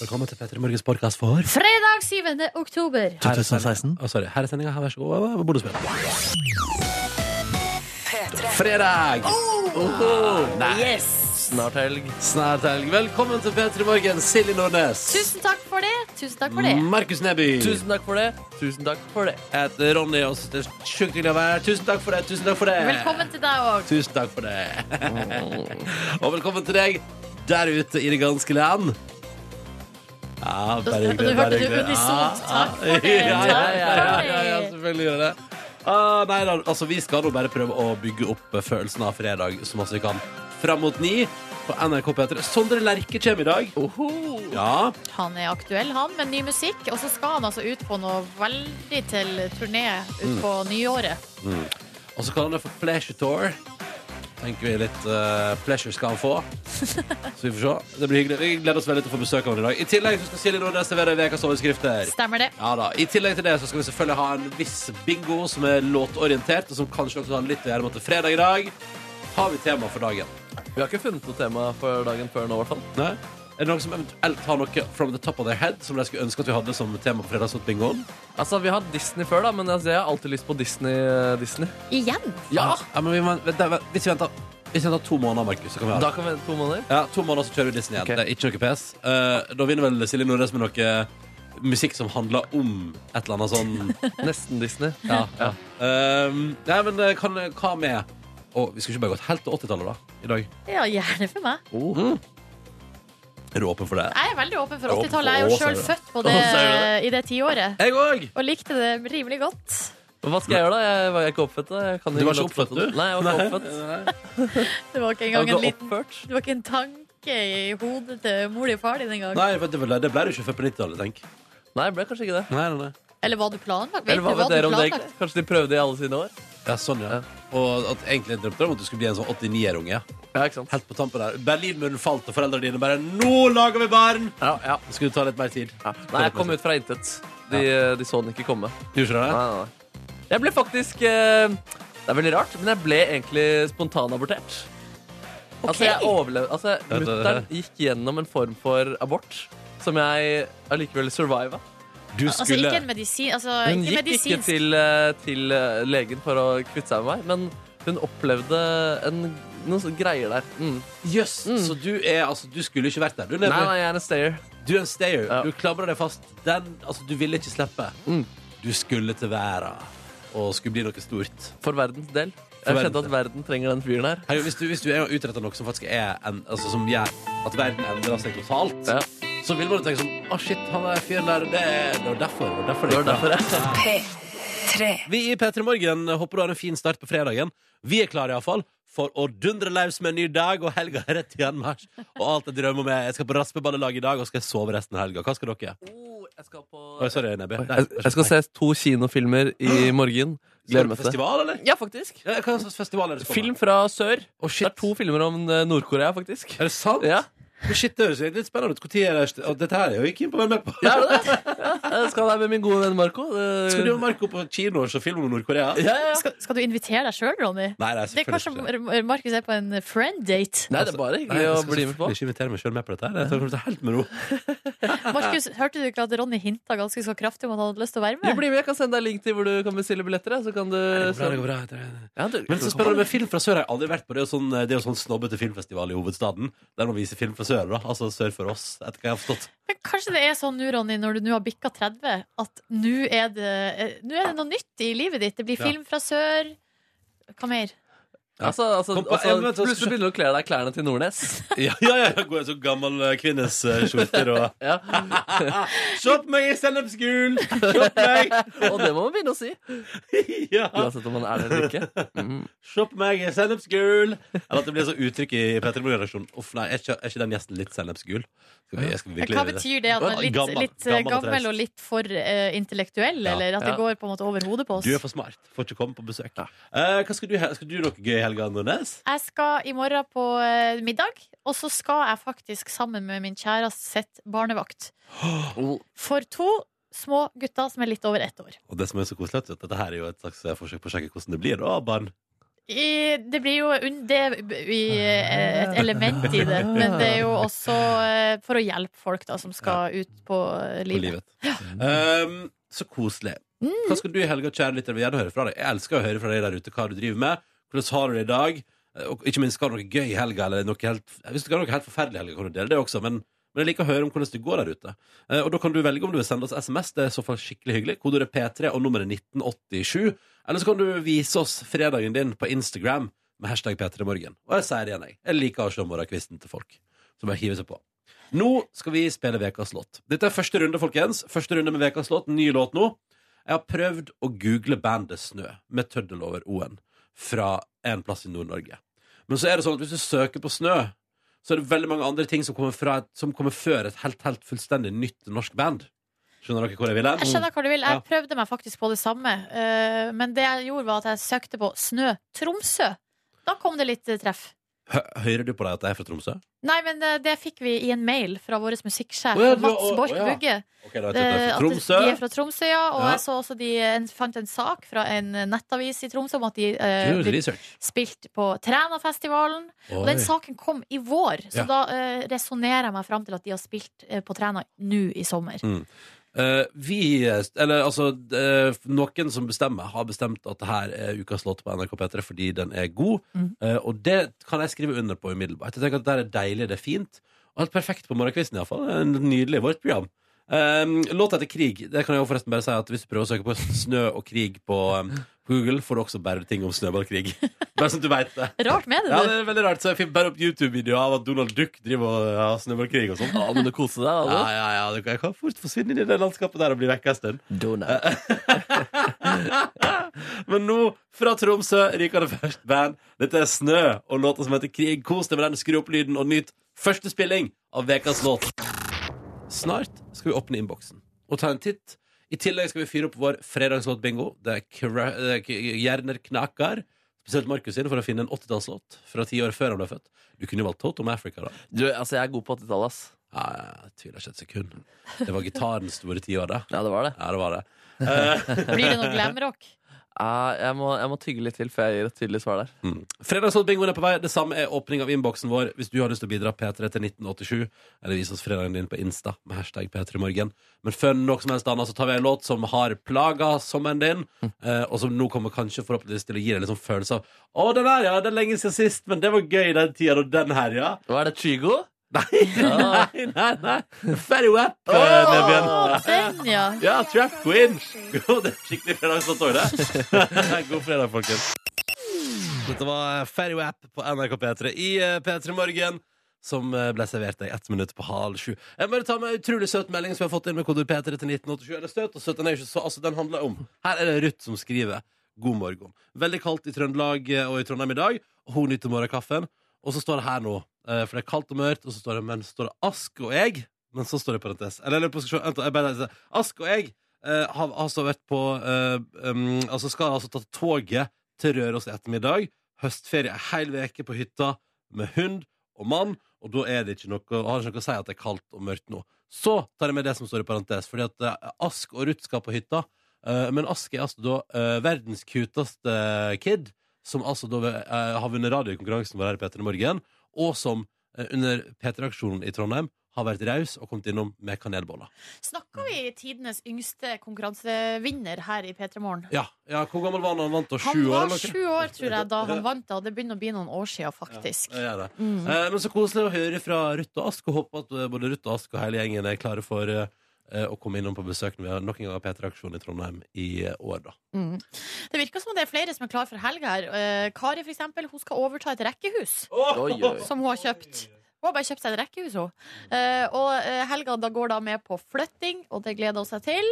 Velkommen til Petter Morgens podcast for Fredag 7. oktober. 2016. Å, sorry. Her er sendinga. Vær så god. Hva bor du Fredag! Oh! Oho! Nei. Snart helg. Snart helg. Velkommen til P3 Morgen, Silje Nordnes. Tusen takk for det. Tusen takk for det. Markus Neby. Tusen takk for det. Tusen takk for det. Jeg heter Ronny, og det er sjukt hyggelig å være her. Tusen takk for det. Tusen takk for det. Velkommen til deg òg. Tusen takk for det. og velkommen til deg der ute i det ganske land. Ja, Da- bare da- hyggelig. du bare hørte det hyggelig. unisont. Ah, Takk ah. for det. Ja, ja, ja, ja, Takk for ja, ja, det. selvfølgelig gjør det. Ah, nei, da, altså, vi skal nå bare prøve å bygge opp eh, følelsen av fredag så masse vi kan. Fram mot ni på NRK P3. Sondre Lerche kommer i dag. Ja, Han er aktuell, han, med ny musikk. Og så skal han altså ut på noe veldig til turné utpå nyåret. Og så kaller han det for Pleasure Tour. Tenker vi litt eh, pleasure skal han få. Så vi får se. Det blir hyggelig. Vi gleder oss veldig til å få besøk av han i dag. I tillegg så skal Silje Nordnes servere ukas overskrifter. Stemmer det? Ja da. I tillegg til det så skal vi selvfølgelig ha en viss bingo som er låtorientert, og som kanskje også har litt å gjøre med at det er fredag i dag. Har vi tema for dagen? Vi har ikke funnet noe tema for dagen før nå, i hvert fall. Nei? Er det noen som eventuelt har noe from the top of their head som de skulle ønske at vi hadde som tema på fredagsbingoen? Altså, Vi har hatt Disney før, da, men altså, jeg har alltid lyst på Disney. eh, Disney. Igjen? Ja, men vi, må- vent, vent, hvis vi venter, hvis vi venter to måneder, Markus, så kan vi ha det. Da kan vi vente to måneder. Ja, to måneder så kjører vi Disney igjen. Ok. Det er ikke noe pes. Eh, da vinner vel Silje Nordnes med noe musikk som handler om et eller annet sånn Nesten Disney. Ja. ja. Um, nei, men eh, kan, hva med Å, Vi skulle ikke bare gått helt til 80-tallet, da? I dag. Ja, gjerne for meg. Oh. Mm. Er du åpen for det? Jeg er veldig åpen for Åpen 80-tallet. Jeg er jo for- sjøl Å, ser du. født på det, Å, ser i det tiåret. Jeg òg! Og likte det rimelig godt. Men hva skal jeg gjøre, da? Jeg var jeg er ikke oppfødt. da jeg kan Du var ikke ikke oppfødt, oppfødt, du? Nei, jeg var ikke oppfødt. Det var ikke Jeg engang var en ikke liten oppført. Det var ikke en tanke i hodet til mor og far din engang. Nei, vet du vel, det ble du ikke før på 90-tallet, tenk. Nei, jeg ble kanskje ikke det. Nei, nei, nei. Eller var du planlagt? Vet Eller hva du vet du dere om det? planlagt? Kanskje de prøvde i alle sine år? Ja, sånn, ja. Og at egentlig drømte du om at du skulle bli en sånn 89-er-unge. Ja, ikke sant? Helt på tampen der. Berlinmuren falt, og foreldrene dine bare 'Nå lager vi barn!' Ja, ja. Det skulle ta litt mer tid. Nei, jeg kom ut fra intet. De, eh, de så den ikke komme. Gjorde ikke det? Nei, nei, nei. Jeg ble faktisk eh, Det er veldig rart, men jeg ble egentlig spontanabortert. Altså, jeg overlevde Altså, det- det- mutter'n gikk gjennom en form for abort som jeg allikevel surviva. Du Altså skulle ikke en medisin altså, Hun ikke gikk ikke medisinsk til, eh, til eh, legen for å kvitte seg med meg, men hun opplevde en, noen sånne greier der. Mm. Jøss, så du er altså Du skulle ikke vært der. Du, lever, Nei, nei, jeg er en stayer. du er en stayer. Ja. Mm. Du klamrer deg fast. Den, altså, du ville ikke slippe. Du skulle til verden og skulle bli noe stort. For verdens del. For Jeg verdens kjente at verden trenger den fyren her. Herregud, hvis, du, hvis du er utretta noe som faktisk er en, altså, Som gjør at verden endrer seg totalt, Ja. så vil man jo tenke sånn Å, shit, han der fyren der, det, er- det var derfor. Det var derfor, Det det var gikk bra.» derfor jeg Vi i P3 Morgen håper du har en fin start på fredagen. Vi er klare, iallfall. For å dundre løs med en ny dag, og helga er rett i anmarsj. Og alt jeg drømmer om, er jeg skal på raspeballelag i dag, og skal sove resten av helga. Hva skal dere? Oh, jeg skal på Oi, sorry, Nebby. Jeg, jeg skal se to kinofilmer i morgen. Gleder meg til det. Festival, eller? Ja, faktisk. Ja, hva slags festival er det som Film fra sør. kommer? Å, Det shit. er to filmer om eh, Nord-Korea, faktisk. Er det sant? Ja, Men Shit, det høres litt spennende ut. Hvor tid er det? Å, dette her er jo ikke inn på å være med på. det er det. det. Ja, jeg skal være med min gode venn Marco. Eh, Skal du og Marco på kino og se film om Nord-Korea? Ja, ja, ja. skal, skal du invitere deg sjøl, Ronny? Nei, nei, Det er kanskje selvfølgelig ikke. Mar- Markus er på en friend date. Nei, det er bare Altså, Nei, hyggelig å jeg skal bli med på. selvfølgelig ikke invitere meg sjøl med på dette. her Jeg tar det helt med ro. Markus, Hørte du ikke at Ronny hinta ganske så kraftig om at han hadde lyst til å være Jo, med? bli med. Jeg kan sende deg link til hvor du kan bestille billetter. ja, Så kan du Det går bra, det går bra, det går bra. Ja, du- Men så spennende med film fra sør. Jeg har aldri vært på Det er jo sånn, det er jo sånn snobbete filmfestival i hovedstaden. Der man viser film fra sør, da. Altså sør for oss, etter hva jeg har forstått. Men kanskje det er sånn nå, Ronny, når du nå har bikka 30, at nå er, det, eh, nå er det noe nytt i livet ditt. Det blir Ja. film fra sør. Hva mer? Altså, altså, Kom på, altså, jeg vet, altså, plutselig begynner du å kle deg klærne til Nordnes. Ja, ja, ja. jeg Går i sånn gammel eh, kvinnes eh, skjorter og Ja. Se på meg i sennepsgul! Se på meg! Og det må man begynne å si. Ja. Uansett om man er det eller ikke. Mm. Se på meg i sennepsgul! Eller at det blir så uttrykk i P3 Morgen-redaksjonen. Uff, nei, er ikke, er ikke den gjesten litt sennepsgul? Skal vi, skal vi virkelig Hva gjøre det? betyr det? At man er litt, Gammel. litt eh, Gammel og gammel og litt for eh, intellektuell? Ja. Eller at det Ja. går på en måte over hodet på Du er oss? for smart. Får ikke komme på besøk. Eh, hva skal, du, he- skal du noe gøy i helga, Nordnes? Jeg skal i morgen på eh, middag, og så skal jeg faktisk sammen med min kjæreste sitt barnevakt. Oh. For to små gutter som er litt over ett år. Og det som er så koselig, er at dette her er jo et slags forsøk på å sjekke hvordan det blir da, barn. i, det blir jo un- det, er i, eh, et element i det, men det er jo også eh, for å hjelpe folk da, som skal ut på eh, på livet. livet. Um, så koselig. Hva skal du i helga, kjære lytter? Vi gjerne høre fra deg. Jeg elsker å høre fra deg der ute hva du driver med. Hvordan har du det i dag? Eh, Og ikke minst, skal du ha noe gøy i helga? Eller noe helt, hvis du skal ha noe helt forferdelig i helga, kan du dele det også. Men, men jeg liker å høre om hvordan det går der ute. Eh, Og da kan du velge om du vil sende oss SMS. Det er i så fall skikkelig hyggelig. Kodeordet P3 og nummeret 1987. Eller så kan du vise oss fredagen din på Instagram med hashtag P3morgen. Og jeg sier det igjen, jeg. Jeg liker å se morgenkvisten til folk. Så bare hive seg på. Nå skal vi spille Vekas låt. Dette er første runde, folkens. Første runde med Vekas låt. Ny låt nå. Jeg har prøvd å google bandet Snø med tøddel over O-en fra en plass i Nord-Norge. Men så er det sånn at hvis du søker på Snø, så er det veldig mange andre ting som kommer, fra, et- som kommer før et helt, helt fullstendig nytt norsk band. Skjønner dere hvor jeg vil hen? Jeg skjønner hva du vil. Ja. Jeg prøvde meg faktisk på det samme. eh, Men det jeg gjorde, var at jeg søkte på Snø Tromsø. Da kom det litt eh, treff. Hø- Hører du på deg at jeg er fra Tromsø? Nei, men eh, det fikk vi i en mail fra vår musikksjef, Å ja, du- Mats å- Borch å ja. Bugge. Ok, da vet jeg at jeg Eh, er At fra Tromsø. de er fra Tromsø, ja. Og Ja. jeg så også de en, fant en sak fra en nettavis i Tromsø om at de Du eh, gjorde ble research. spilt på Trænafestivalen. Og den Oi. saken kom i vår, så Ja. da uh, resonnerer jeg meg fram til at de har spilt eh, på Træna nå i sommer. Eh, vi, eller altså eh, Noen som bestemmer, har bestemt at det her er ukas låt på NRK P3 fordi den er god. Mhm. Eh, og det kan jeg skrive under på umiddelbart. Jeg tenker at Det her er deilig, det er fint. Og helt perfekt på morgenkvisten, iallfall. Nydelig. Vårt program. Um, låta heter Krig. Det kan jeg jo forresten bare si at Hvis du prøver å søke på snø og krig på um, Google, får du også bare ting om snøballkrig. Bare sånn at du veit det. Rart med det, Ja, du. det er veldig rart. Så jeg fikk bare opp YouTube-videoer av at Donald Duck driver og eh, har snøballkrig og sånn. Ja, men du koser deg, Ja, altså. ja, ja, du kan- jeg kan fort forsvinne inn i det landskapet der og bli vekk en stund. Donut. Men nå, fra Tromsø, ryker det først band. Dette er Snø og låta som heter Krig. Kos deg med den, skru opp lyden og nyt første spilling av ukas låt. Snart skal vi åpne innboksen og ta en titt. I tillegg skal vi fyre opp vår fredagslåtbingo. Det er kra- det er k- Hjerner knaker. Spesielt Markus sin for å finne en 80-tallslåt fra ti år før han ble født. Du kunne jo valgt Totom Africa, da. Du, altså, jeg er god på 80-tallet, ass. Ja, jeg tviler ikke et sekund. Det var gitarens store tiår, da. Ja, det var det. Ja, det var det. Blir det noe glamrock? Ja, Ah, jeg, må, jeg må tygge litt til før jeg gir et tydelig svar der. Mm. Fredagsrådbingoen er på vei. Det samme er åpning av innboksen vår. Hvis du har lyst til å bidra P3 til 1987, eller vis oss fredagen din på Insta med hashtag P3morgen. Men før noe som helst annet, så tar vi en låt som har plaga sommeren din, eh, og som nå kommer kanskje forhåpentligvis til å gi deg en sånn følelse av Å, den her, ja, det er lenge siden sist, men det var gøy den tida, og den her, ja. Hva er det, Kygo? Nei, nei, nei. nei. Ferry Wap, eh, Nebyen. Å, den, ja. Ja, Trap Queen. God, det er skikkelig fredagslåt òg, det. God fredag, folkens. Dette var eh, Ferry App på NRK P3 i eh, P3 Morgen. Som eh, ble servert deg ett minutt på halv sju. Jeg bare ta med en utrolig søt melding som jeg har fått inn med kodord P3 til 1987. Eller søt og søt, den er jo ikke så Altså, den handler om Her er det Ruth som skriver. God morgen. Veldig kaldt i Trøndelag eh, og i Trondheim i dag. og Hun nyter morgenkaffen. Og så står det her nå, eh, for det er kaldt og mørkt, og så står det, men så står det Ask og jeg. Men så står det i parentes. Eller, eller på skal se- vent, jeg bare leser. Ask og jeg eh, har altså vært på eh, um, Altså skal altså ta toget til Røros i ettermiddag. Høstferie ei hel veke på hytta med hund og mann, og da er det ikke noe, har det ikke noe å si at det er kaldt og mørkt nå. Så tar jeg med det som står i parentes, fordi at eh, Ask og Ruth skal på hytta. eh, men Ask er altså da eh, verdens cuteste kid, som altså da eh, har vunnet radiokonkurransen vår her i P3 Morgen, og som eh, under P3-aksjonen i Trondheim har vært raus og kommet innom med kanelboller. Snakka vi tidenes yngste konkurransevinner her i P3 Morgen? Ja, ja, hvor gammel var han? Han vant da Han sju år? var eller noe? sju år, tror jeg, da han vant. da Det begynner å bli noen år sia, faktisk. Ja, det er det. Mm. Eh, men så koselig å høre fra Ruth og Ask, og håper at eh, både Ruth og Ask og hele gjengen er klare for eh, eh, å komme innom på besøk når vi har nok en gang P3-aksjon i Trondheim i eh, år, da. Mm. Det virker som om det er flere som er klar for helga her. Eh, Kari, for eksempel, hun skal overta et rekkehus Oi, oi. som hun har kjøpt. Hun har bare kjøpt seg et rekkehus, hun. Eh, og eh, helga da går da med på flytting, og det gleder hun seg til.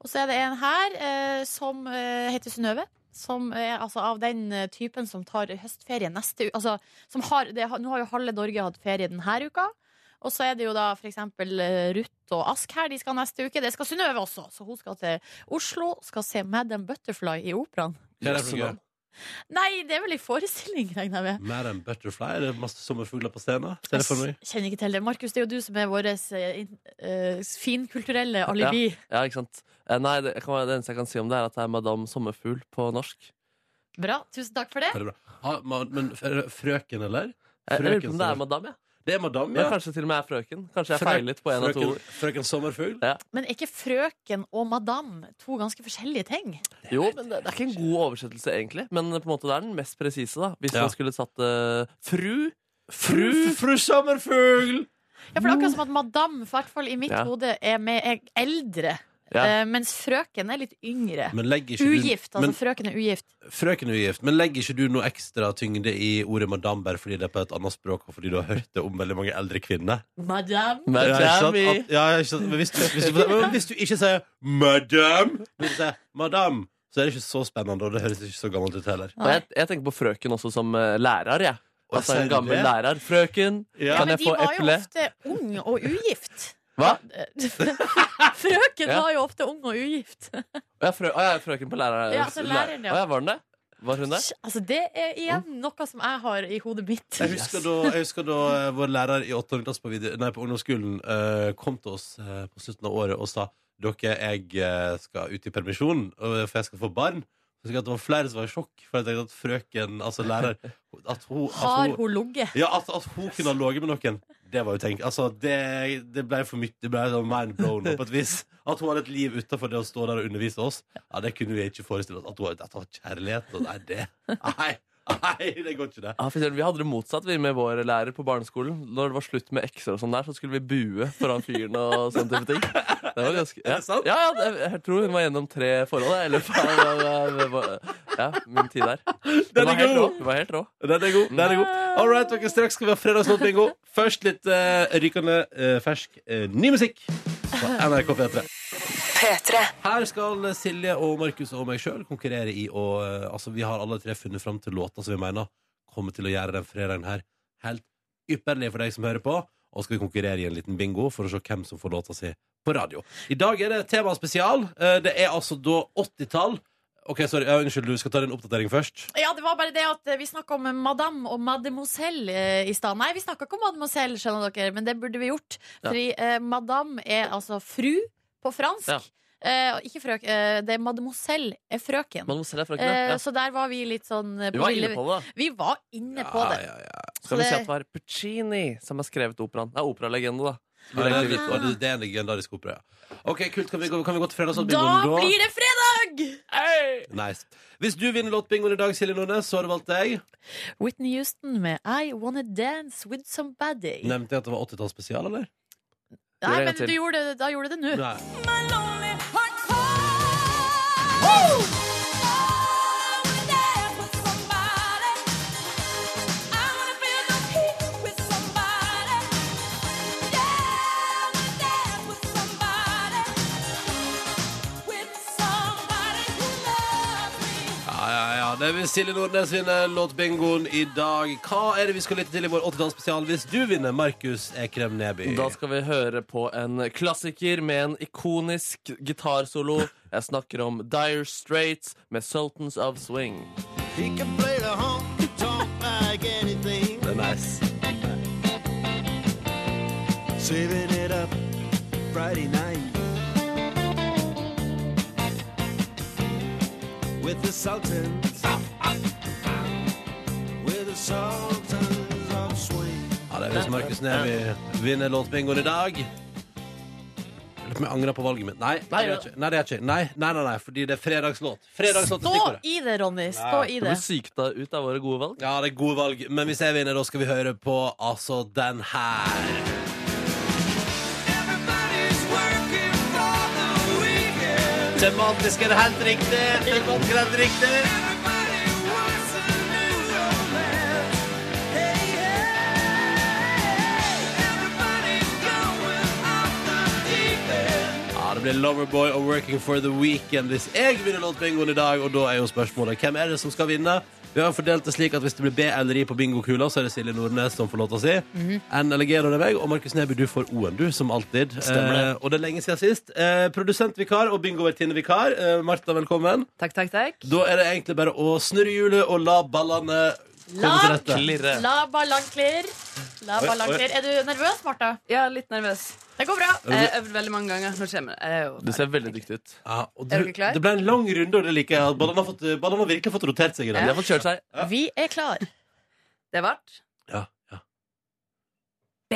Og så er det en her eh, som eh, heter Synnøve. Som er altså av den eh, typen som tar høstferie neste uke. Altså, som har, det, har- nå har jo halve Norge hatt ferie denne uka. Og så er det jo da for eksempel eh, Ruth og Ask her, de skal neste uke. Det skal Synnøve også. Så hun skal til Oslo, skal se Madam Butterfly i operaen. Hva er det for noe? Nei, det er vel i forestilling, regner jeg med. Mer enn Butterfly? Er det masse sommerfugler på scenen? Ser jeg for meg? Jeg kjenner ikke til det. Markus, det er jo du som er vår eh, finkulturelle alibi. Ja, ikke sant? Eh, Nei, det, jeg kan, det eneste jeg kan si om det, er at det er Madame Sommerfugl på norsk. Bra. Tusen takk for det. Veldig bra. Ha, ma- men fr- frøken, eller? Jeg jeg lurer på Frøken om det Sommer- er madame, ja. Det er madame, Men ja. kanskje til og med er frøken. Kanskje jeg Frø- feilet på en av to frøken, ord. frøken sommerfugl? Men er ikke frøken og madame to ganske forskjellige ting? Jo, men det, det er ikke en god oversettelse, egentlig. Men på en måte det er den mest presise, da. Hvis Ja. man skulle satt eh, fru. Fru, fru sommerfugl! Ja, for det er akkurat som at madame, i hvert fall i mitt Ja. hode, er, med, er eldre. Ja. eh, mens frøken er litt yngre. Men legger ikke Ugift. du Altså, men, frøken er ugift. Frøken er ugift, men legger ikke du noe ekstra tyngde i ordet madame bare fordi det er på et annet språk, og fordi du har hørt det om veldig mange eldre kvinner? Madame. Ja, ikke sant? Madame. At- ja, ikke sant? Men Hvis, du- hvis, du, men hvis du ikke sier 'madame', men du sier 'madame', så er det ikke så spennende, og det høres ikke så gammelt ut heller. Og jeg, jeg tenker på frøken også som eh, lærer, jeg. Å, Altså sier en du gammel det? lærer. Frøken, Ja. Ja, kan men jeg de få var jo eple? ofte ung og ugift. eh, Hva? frøken Ja. var jo ofte ung og ugift. Å ja, frø, å, ja, frøken på lærer. Ja, altså læreren, ja. Å ja, var den det? Var hun det? Altså, det er igjen noe som jeg har i hodet mitt. Jeg husker da, jeg husker da eh, vår lærer i 8. klasse på, vide- nei, på ungdomsskolen eh, kom til oss eh, på slutten av året og sa dere, jeg eh, skal ut i permisjon, og- eh, for jeg skal få barn. Så husker jeg at det var flere som var i sjokk, for jeg tenkte at frøken, altså lærer at hun, Har at Altså, hun, hun ligget? ja, at, at hun kunne ha ligget med noen, det var utenkt. Altså, det, det ble for mye, det ble sånn mind blown på et vis. At hun hadde et liv utenfor det å stå der og undervise oss, ja, det kunne vi ikke forestille oss. At hun hadde at hun hadde kjærlighet, og nei, det, nei, nei, det går ikke det. Ja, for eksempel, vi hadde det motsatt vi med vår lærer på barneskolen. Når det var slutt med ekser, og sånn der, så skulle vi bue foran fyren. og sånne type ting. Det var ganske, ja. Er det sant? Ja, ja, det- jeg tror hun var gjennom tre forhold. jeg, I løpet av, av, av, ja, min tid der. Hun Den var er helt rå. god. Hun var helt rå. Den er god. den er god All right, dere, Straks skal vi ha fredagsnåt bingo. Først litt eh, rykende eh, fersk eh, ny musikk på NRK P3. Her skal Silje og Markus og meg sjøl konkurrere i å eh, Altså, vi har alle tre funnet fram til låta som vi mener kommer til å gjøre den fredagen her helt ypperlig for deg som hører på. Og skal vi konkurrere i en liten bingo for å se hvem som får låta si på radio. I dag er det temaspesial. Eh, Det er altså da 80-tall. OK, sorry, ja, unnskyld, du skal ta din oppdatering først. Ja, det var bare det at eh, vi snakka om madame og mademoiselle eh, i stad. Nei, vi snakka ikke om mademoiselle, skjønner dere, men det burde vi gjort. Ja. Fordi eh, madame er altså fru på fransk. Ja. Eh, og ikke frøk, eh, det er mademoiselle er frøken. Mademoiselle frøken, Eh, ja. Så der var vi litt sånn eh, Hun var ville- inne på det. da. Vi var inne på det. Ja, ja, ja. Skal Så vi si det- at det var Puccini som har skrevet operaen? Det er operalegende, da. Ja, det, er, Egentlig litt- litt- og det, det er en legendarisk opera, ja. Ok, kult. Kan vi, gå- kan vi gå til Da fredagsbingoen da? blir det fredag! Nice. Hvis du vinner låtbingoen i dag, Silje Nordnes, så har du valgt deg. Whitney Houston med I Wanna Dance With Somebody. Nei, Nevnte jeg at det var 80-tallsspesial, eller? Gjør en men gang til. du gjorde, det- da gjorde du det nå. Nei. Ja, ja, ja. Det vil Silje Nordnes vinne låtbingoen i dag. Hva er det vi skal lytte til i vår 80-tallsspesial hvis du vinner, Markus Ekrem Neby? Da skal vi høre på en klassiker med en ikonisk gitarsolo. Jeg snakker om Dire Straits med Sultans of Swing. He can play the honky tonk like anything, Det er nice. saving it up Friday night with the Sultans, with the Sultans of Swing. Ja, det er hvis Markus Neby vinner låtbingoen i dag. Jeg lurer på om jeg angrer på valget mitt. Nei, Nei, det gjør jeg ikke. nei, det gjør jeg ikke. Nei, nei, nei, nei, fordi det er fredagslåt. Fredagslåt er Stå stikkordet. i det, Ronny. Stå i Du blir det. sykta ut av våre gode valg. Ja, det er gode valg. Men hvis jeg vinner, da skal vi høre på altså den her. Tematisk er det helt riktig. Tematisk er det helt riktig. Ja, det blir Loverboy og Working for the Weekend hvis jeg vinner låtbingoen i dag. Og da er jo spørsmålet hvem er det som skal vinne? Vi har fordelt det slik at hvis det blir B eller I på bingokula, så er det Silje Nordnes som får låta si. Mhm. N eller G når det er meg. Og Markus Neby, du får O-en, du, som alltid. Stemmer det. Eh, og det er lenge siden sist. Eh, produsentvikar og bingovertinnevikar. Eh, Martha, velkommen. Takk, takk, takk. Da er det egentlig bare å snurre hjulet og la ballene Kom til Lang, rette. Klirre. labba langklirr. Labba Oi, langklirr. Er du nervøs, Marta? Jeg er litt nervøs. Det går bra. Er Eh, Jeg har øvd veldig mange ganger. Nå kommer jeg. jeg. er jo Du ser veldig dyktig ut. Ja, og Er du, dere klar? det ble en lang runde, og det liker jeg. Ballen har, fått, ballen har virkelig fått rotert seg i De dag. har fått kjørt seg. Vi er klar. Det er vart. Ja, ja.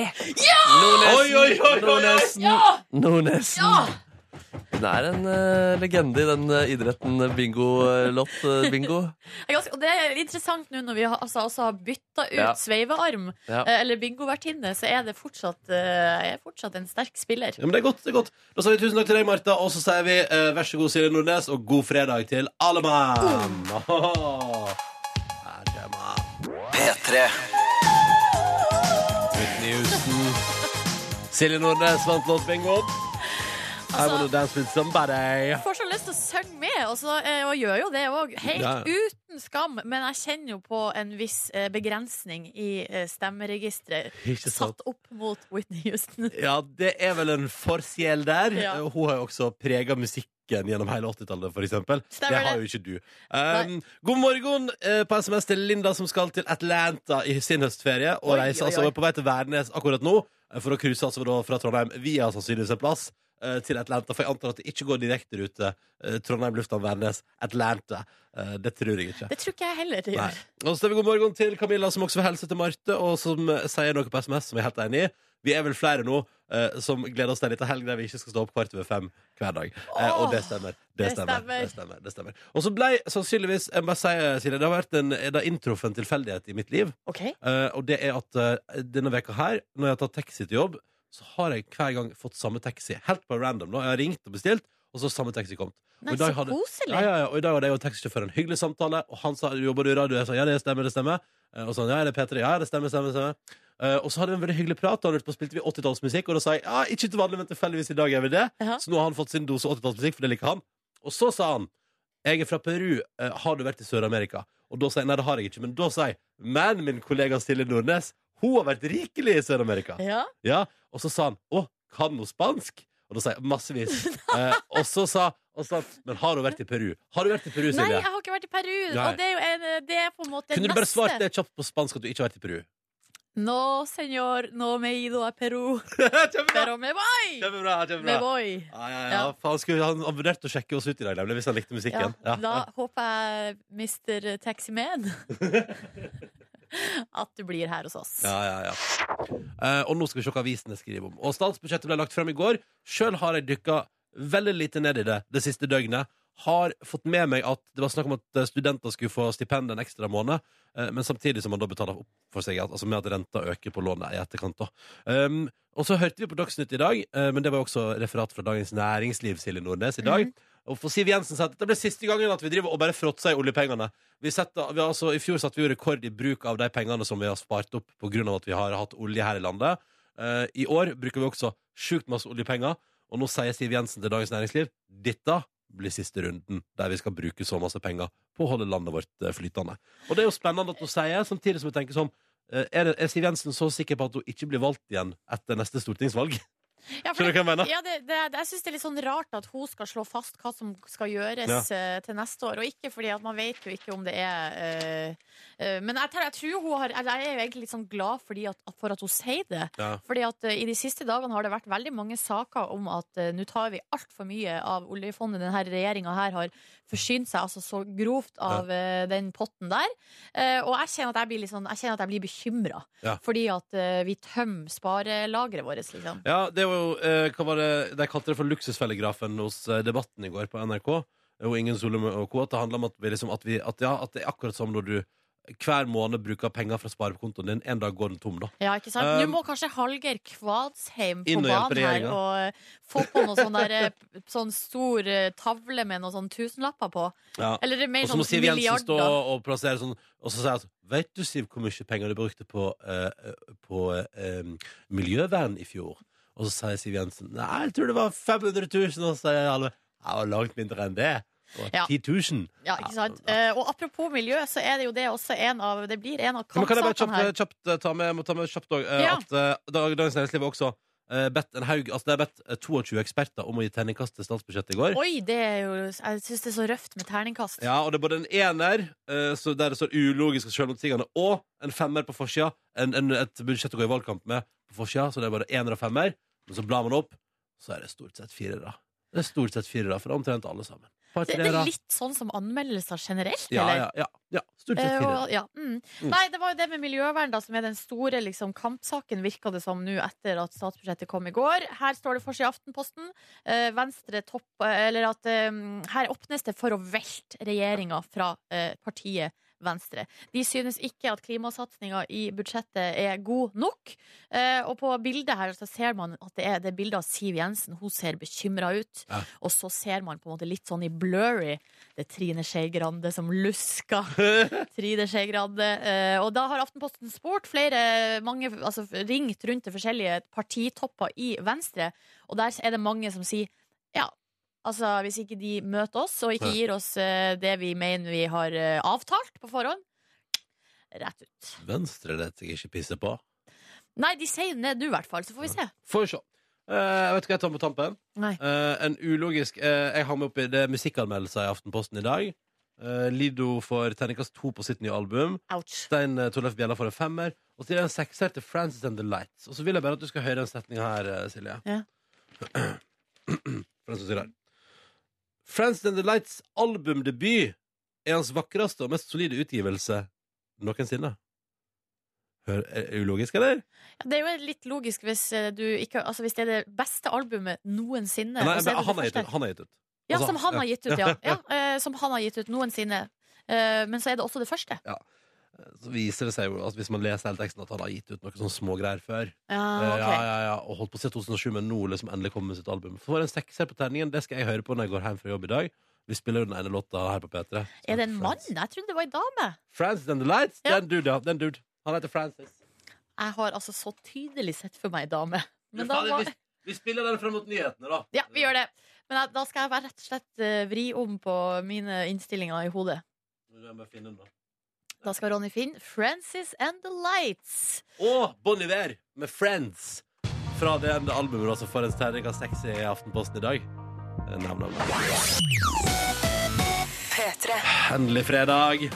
Oi, oi, oi, oi, oi! Nordnesen! Nordnesen! Ja! Nordnesen. Hun er en eh, legende i den eh, idretten bingo-lott-bingo. Det er ganske- Og det er interessant nå når vi har, altså, også har bytta ut Ja. sveivearm, Ja. eh, eller bingovertinne, så er det fortsatt, eh, er fortsatt en sterk spiller. Ja, men det er godt, det er godt. Da sier vi tusen takk til deg, Marta, og så sier vi eh, vær så god, Silje Nordnes, og god fredag til alle mann! Mm. Åhå. Herre mann. Whitney Houston. Silje Nordnes vant låtbingoen. Altså- I wanna dance with somebody. Jeg får så lyst til å synge med, og, så, eh, og gjør jo det òg. Helt Ja, ja. uten skam, men jeg kjenner jo på en viss eh, begrensning i eh, stemmeregisteret. Ikke sant? Satt opp mot Whitney Houston. Ja, det er vel en forsjel der. Ja. Eh, Hun har jo også prega musikken gjennom hele 80-tallet, for eksempel. Stemmer det har jo det. ikke du. Um, god morgen eh, på SMS til Linda, som skal til Atlanta i sin høstferie. Og Oi, reiser oi, altså oi. hun er på vei til Værnes akkurat nå, eh, for å cruise altså da fra Trondheim via sannsynligvis en plass eh, til Atlanta. For jeg antar at det ikke går direkterute eh, Trondheim lufthavn Værnes Atlanta. Eh, det tror jeg ikke. Det tror ikke jeg heller. det Nei. gjør. Og så er vi god morgen til Camilla, som også vil helse til Marte, og som eh, sier noe på SMS som jeg er helt enig i. Vi er vel flere nå eh, som gleder oss til en liten helg der vi ikke skal stå opp kvart over fem hver dag. Eh, og det stemmer. Det det stemmer. stemmer. Det stemmer. Det stemmer. Og så ble sannsynligvis jeg må bare si, Silje, Det har vært en, det har inntruffet en tilfeldighet i mitt liv. Ok. Eh, og det er at eh, denne veka her, når jeg har tatt taxi til jobb, så har jeg hver gang fått samme taxi. Helt på random. nå. Jeg har ringt og bestilt, og så har samme taxi kommet. Nei, Og i dag så hadde- koselig. Ja, ja, ja. Og i dag hadde jeg og taxisjåføren en hyggelig samtale, og han sa jobber du i radio? Jeg sa ja, det stemmer, det stemmer. Eh, Og sånn, ja, er det P3? Ja, det stemmer, stemmer, stemmer. Eh, og så hadde vi en veldig hyggelig prat, og han lurte på spilte vi 80-tallsmusikk, og da sa jeg ja, ikke til vanlig, men tilfeldigvis i dag er vi det. Ja. Så nå har han fått sin dose 80-tallsmusikk, for det liker han. Og så sa han jeg er fra Peru, eh, har du vært i Sør-Amerika? Og da sa jeg nei, det har jeg ikke, men da sa jeg men min kollega Silje Nordnes, hun har vært rikelig i Sør-Amerika. Ja. Ja, og så sa han Å, kan hun spansk? Og da sa jeg massevis eh, Og så sa og så sa han Men har hun vært i Peru? Har du vært i Peru, Nei, Silje? jeg har ikke vært i Peru. Nei. Og det er jo en, eh, det er på en måte Kunne du det bare svart neste. det kjapt på spansk at du ikke har vært i Peru? No, senor, no me he ido a Peru. kjempebra! Pero me voy! Kjempebra, Me kjempebra. voy. Ja, ja, ja. Ja. Faen, skulle, han, han vurderte å sjekke oss ut i dag nemlig, hvis han likte Ja, musikken. Ja, da håper jeg Mr. Taximan at du blir her hos oss. Ja, ja, ja. Eh, og nå skal vi se hva avisene skriver om. Og statsbudsjettet ble lagt frem i går. Sjøl har jeg dykka veldig lite ned i det det siste døgnet. Har fått med meg at det var snakk om at eh, studenter skulle få stipend en ekstra måned, eh, men samtidig som man da betaler opp for seg, altså med at renta øker på lånet i etterkant. da. Um, og så hørte vi på Dagsnytt i dag, eh, men det var jo også referat fra Dagens Næringsliv, Silje Nordnes, i dag. Og for Siv Jensen sa at dette blir siste gangen at vi driver og bare fråtser i oljepengene. Vi setter, vi har, altså, I fjor satte vi jo rekord i bruk av de pengene som vi har spart opp pga. at vi har hatt olje her i landet. Eh, I år bruker vi også sjukt masse oljepenger, og nå sier Siv Jensen til Dagens Næringsliv dette blir siste runden der vi skal bruke så masse penger på å holde landet vårt eh, flytende. Og det er jo spennende at hun sier, samtidig som jeg tenker sånn eh, er, det, er Siv Jensen så sikker på at hun ikke blir valgt igjen etter neste stortingsvalg? Ja, for Skjønner du hva jeg mener? Ja, det, det, jeg syns det er litt sånn rart at hun skal slå fast hva som skal gjøres eh, til neste år, og ikke fordi at man vet jo ikke om det er eh, eh, Men jeg, tror- jeg tror hun har Jeg er jo egentlig litt sånn glad fordi at, at- for at hun sier det. Ja. Fordi at eh, i de siste dagene har det vært veldig mange saker om at eh, nå tar vi altfor mye av oljefondet. Denne regjeringa her har forsynt seg altså så grovt av eh, den potten der. Eh, og jeg kjenner at jeg blir, litt sånn- jeg kjenner at jeg blir bekymra. Ja. Fordi at eh, vi tømmer sparelageret vårt, liksom. Ja, det var jo eh, Hva var det de kalte det for luksusfellegrafen hos eh, Debatten i går på NRK? Og Ingen Solum og Co. At det handler om at, vi liksom, at, vi, at, ja, at det er akkurat som når du hver måned bruker penger fra sparekontoen din. En dag går den tom, da. Ja, ikke sant? Um, Nå må kanskje Hallgeir Kvadsheim på Inn og hjelpe banen her regjeringen. og eh, få på noe sånn der eh, p- sånn stor eh, tavle med noen sånn tusenlapper på. Ja. Eller mer Og så må sånn Siv Jensen stå milliarder. og plassere sånn Og så sier at Vet du, Siv, hvor mye penger du brukte på, eh, på eh, miljøvern i fjor? Og så sier Siv Jensen Nei, jeg tror det var 500 000. Og så sier alle Ja, det var langt mindre enn det. Det var Ja. 10 000. Ja, ikke sant? Eh, og apropos miljø, så er det jo det også en av Det blir en av Men kan jeg bare kampsakene her. kjapt, kjapt eh, ta med, jeg må ta med kjapt også, eh, Ja. at eh, Dag- Dagens Næringsliv er også eh, bedt en haug Altså, de har bedt eh, 22 eksperter om å gi terningkast til statsbudsjettet i går. Oi, det er jo Jeg syns det er så røft med terningkast. Ja, og det er både en ener, eh, så der det står ulogisk og selvmotsigende, og en femmer på forsida. En, en, et budsjett å gå i valgkamp med på forsida, så det er bare ener og femmer. Men så blar man opp, så er det stort sett firere. Det er stort sett firere for omtrent alle sammen. Par Det, det er treere. litt sånn som anmeldelser generelt, ja, eller? ja, ja, ja. Stort sett Eh, firere. og, ja. Mm. Mm. Nei, det var jo det med miljøvern da, som er den store liksom, kampsaken, virka det som nå etter at statsbudsjettet kom i går. Her står det for seg i Aftenposten. Eh, Venstre topp... Eller at eh, her åpnes det for å velte regjeringa fra eh, partiet. Venstre. De synes ikke at klimasatsinga i budsjettet er god nok. Eh, og på bildet her så ser man at det er det er bildet av Siv Jensen. Hun ser bekymra ut. Ja. Og så ser man på en måte litt sånn i blurry det er Trine Skei Grande som lusker. Trine Skei Grande. eh, Og da har Aftenposten spurt flere, mange, altså ringt rundt til forskjellige partitopper i Venstre, og der er det mange som sier ja. Altså, Hvis ikke de møter oss og ikke Nei. gir oss eh, det vi mener vi har eh, avtalt på forhånd, rett ut. Venstre lar jeg ikke pisse på. Nei, de sier det nå i hvert fall, så får vi se. Får vi se. Eh, jeg vet ikke hva jeg tar på tampen. Nei. Eh, en ulogisk eh, Jeg har med opp i det musikkanmeldelser i Aftenposten i dag. Eh, Lido får terningkast to på sitt nye album. Ouch. Stein eh, Torleif Bjella får en femmer. Og så gir jeg en sekser til Frances and the Lights. Og så vil jeg bare at du skal høre den setninga her, eh, Silje. Ja. For den som sier her. Frances and the Lights' albumdebut er hans vakreste og mest solide utgivelse noensinne. Hør, er det ulogisk, eller? Ja, det er jo litt logisk hvis, eh, du ikke, altså, hvis det er det beste albumet noensinne. Nei, og så er det det han har gitt første. ut. Han har gitt ut. Ja, Altså, som han ja. har gitt ut, ja. ja eh, som han har gitt ut noensinne. Eh, men så er det også det første. Så viser det seg jo, altså, hvis man leser hele teksten, at han har gitt ut noen sånne smågreier før. Ja, Eh, Ah, ok. ja, ja, ja, Og holdt på å se 2007, men nå liksom endelig kommer sitt album. Får en sekser på terningen. Det skal jeg høre på når jeg går hjem fra jobb i dag. Vi spiller jo den ene låta her på P3. Er det en mann? Jeg trodde det var en dame. Francis and the Lights. Ja. Det er en dude, ja. Det er en dude. Han heter Francis. Jeg har altså så tydelig sett for meg en dame. Men da må, spiller den frem mot nyhetene, da. ja, vi gjør det. Men jeg, da skal jeg bare rett og slett eh, vri om på mine innstillinger i hodet. Da skal Ronny Finn, 'Frances and the Lights'. Og Bon Iver med 'Friends'. Fra det ene albumet, altså. For en terning av sexy i Aftenposten i dag. Eh, Nam, nam, nam. Endelig fredag.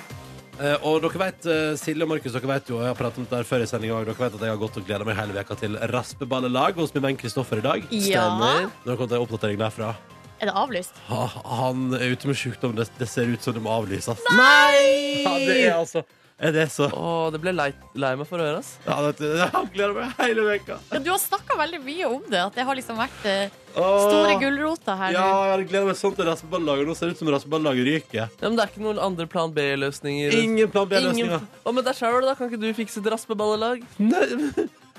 Eh, og dere vet, eh, Silje og Markus, dere vet jo, og jeg har pratet om det her før i sendinga òg, dere vet at jeg har gått og gleda meg hele veka til raspeballelag hos min venn Kristoffer i dag. Ja. Nå har det kommet en oppdatering derfra. Er det avlyst? Ha, han er ute med sjukdom. Det, det ser ut som det må avlyses. Nei! Ja, det er altså er det så Å, det ble lei, lei meg for å høre, ass. ja, det, Jeg gleder meg hele veka Ja, du har snakka veldig mye om det. At det har liksom vært eh, Åh. store gulroter her Ja, nå. jeg gleder meg sånn til raspeballellaget. Nå ser det ut som raspeballellaget ryker. Ja, men det er ikke noen andre plan B-løsninger. Ingen plan B-løsninger. Ingen- Å, men der sjøl, da. Kan ikke du fikse et raspeballelag? Nei,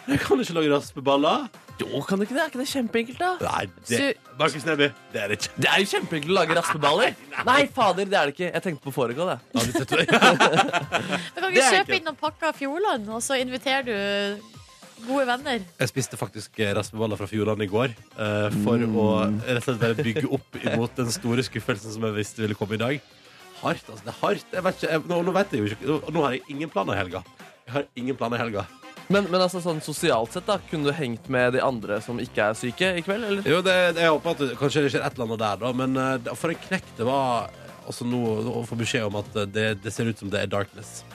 Jeg kan ikke lage raspeballer. Jo, kan du ikke det? Er ikke det kjempeenkelt, da? Nei, det Su- Markus Neby, det er det ikke. Det er jo kjempeenkelt å lage raspeballer. Nei, fader, det er det ikke. Jeg tenkte på foregå, det. Ja, det setter jeg. Da kan Det vi er kjøpe enkelt. inn noen pakker av Fjordland, og så inviterer du gode venner. Jeg spiste faktisk eh, raspeballer fra Fjordland i går eh, for å rett og slett bare bygge opp imot den store skuffelsen som jeg visste ville komme i dag. Hardt, altså. Det er hardt. Jeg vet ikke, jeg, nå, nå vet jeg jo ikke nå, nå har jeg ingen planer i helga. Jeg har ingen planer i helga. Men, men altså, sånn sosialt sett, da. Kunne du hengt med de andre som ikke er syke i kveld, eller? Jo, det, det- jeg håper at det, kanskje det skjer et eller annet der, da. Men eh, det- for en knekk det var altså, nå å få beskjed om at eh, det, det ser ut som det er darkness.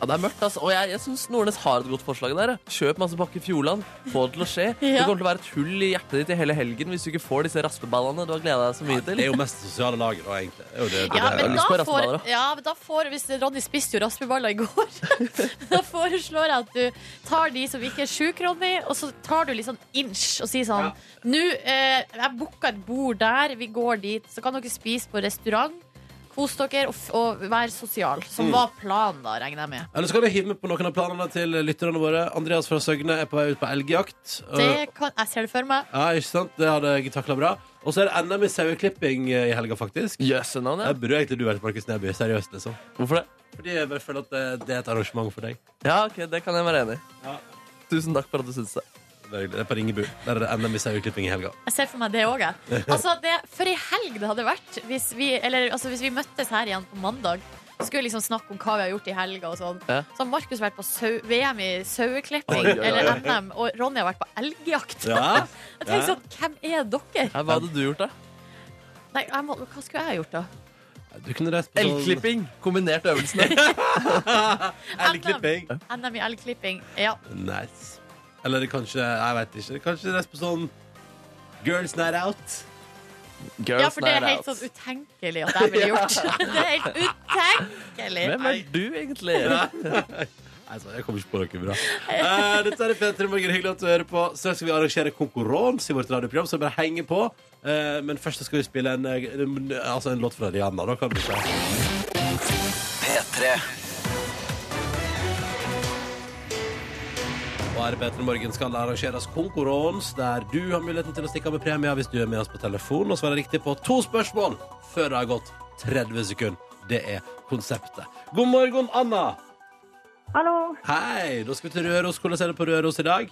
Ja, det er mørkt, altså. Og jeg, jeg syns Nordnes har et godt forslag der. ja. Kjøp masse pakke Fjordland. Få det til å skje. Det Ja. kommer til å være et hull i hjertet ditt i hele helgen hvis du ikke får disse raspeballene du har gleda deg så mye Det til. er jo mest det sosiale laget, da, egentlig. Det er jo det, det, Ja, det, men lyst på da raspeballer, får, ja, men da får Hvis Ronny spiste jo raspeballer i går, da foreslår jeg at du tar de som ikke er sjuke, Ronny, og så tar du litt sånn inch og sier sånn Nå, eh, jeg booka et bord der, vi går dit, så kan dere spise på restaurant. Kos dere og, f og vær sosial. Som var planen, da, regner jeg med. Eller så kan du hive med på noen av planene til lytterne våre. Andreas fra Søgne er på vei ut på elgjakt. Eh, Det kan, jeg ser det for meg. Ja, ikke sant? Det hadde jeg takla bra. Og så er det NM i saueklipping eh, i helga, faktisk. Jøsse navn, Det ja. burde jo egentlig du vært Markus Neby. Seriøst, liksom. Hvorfor det? Fordi jeg bare føler at det, det er et arrangement for deg. Ja, ok, det kan jeg være enig i. Ja. Tusen takk for at du syns det. Det er hyggelig. Det er på Ringebu. Der er det NM i saueklipping i helga. Jeg ser for meg det òg, jeg. Altså, det, for ei helg det hadde vært hvis vi, eller, altså, hvis vi møttes her igjen på mandag Skulle liksom snakke om hva vi har gjort i helga og sånn. Ja. Så har Markus vært på sau VM i saueklipping, Oi, oi, oi. eller NM, og Ronny har vært på elgjakt. Ja. Jeg tenker sånn, hvem er dere? Hva hadde du gjort, da? Nei, jeg må, hva skulle jeg ha gjort da? Du kunne reist på sånn Elgklipping. Kombinert øvelsene. Elgklipping. NM i elgklipping, ja. Nice. Eller kanskje Jeg vet ikke. Kanskje reist på sånn Girls Night Out. Girls ja, for det er night helt out. sånn utenkelig at jeg ville gjort. Det er helt utenkelig. Hvem er du, egentlig? Nei, så jeg kommer ikke på noe bra. Eh, dette er P3 Morgen. Hyggelig at du hører på. Straks skal vi arrangere konkurranse i vårt radioprogram, så bare henge på. Eh, men først så skal vi spille en, eh, en- altså en låt fra Rihanna. Da kan vi se. Og her i P3 Morgen skal det arrangeres konkurranse der du har muligheten til å stikke av med premie hvis du er med oss på telefon og svarer riktig på to spørsmål før det har gått 30 sekunder. Det er konseptet. God morgen, Anna. Hallo. Hei, da skal vi til Røros. Hvordan er det på Røros i dag?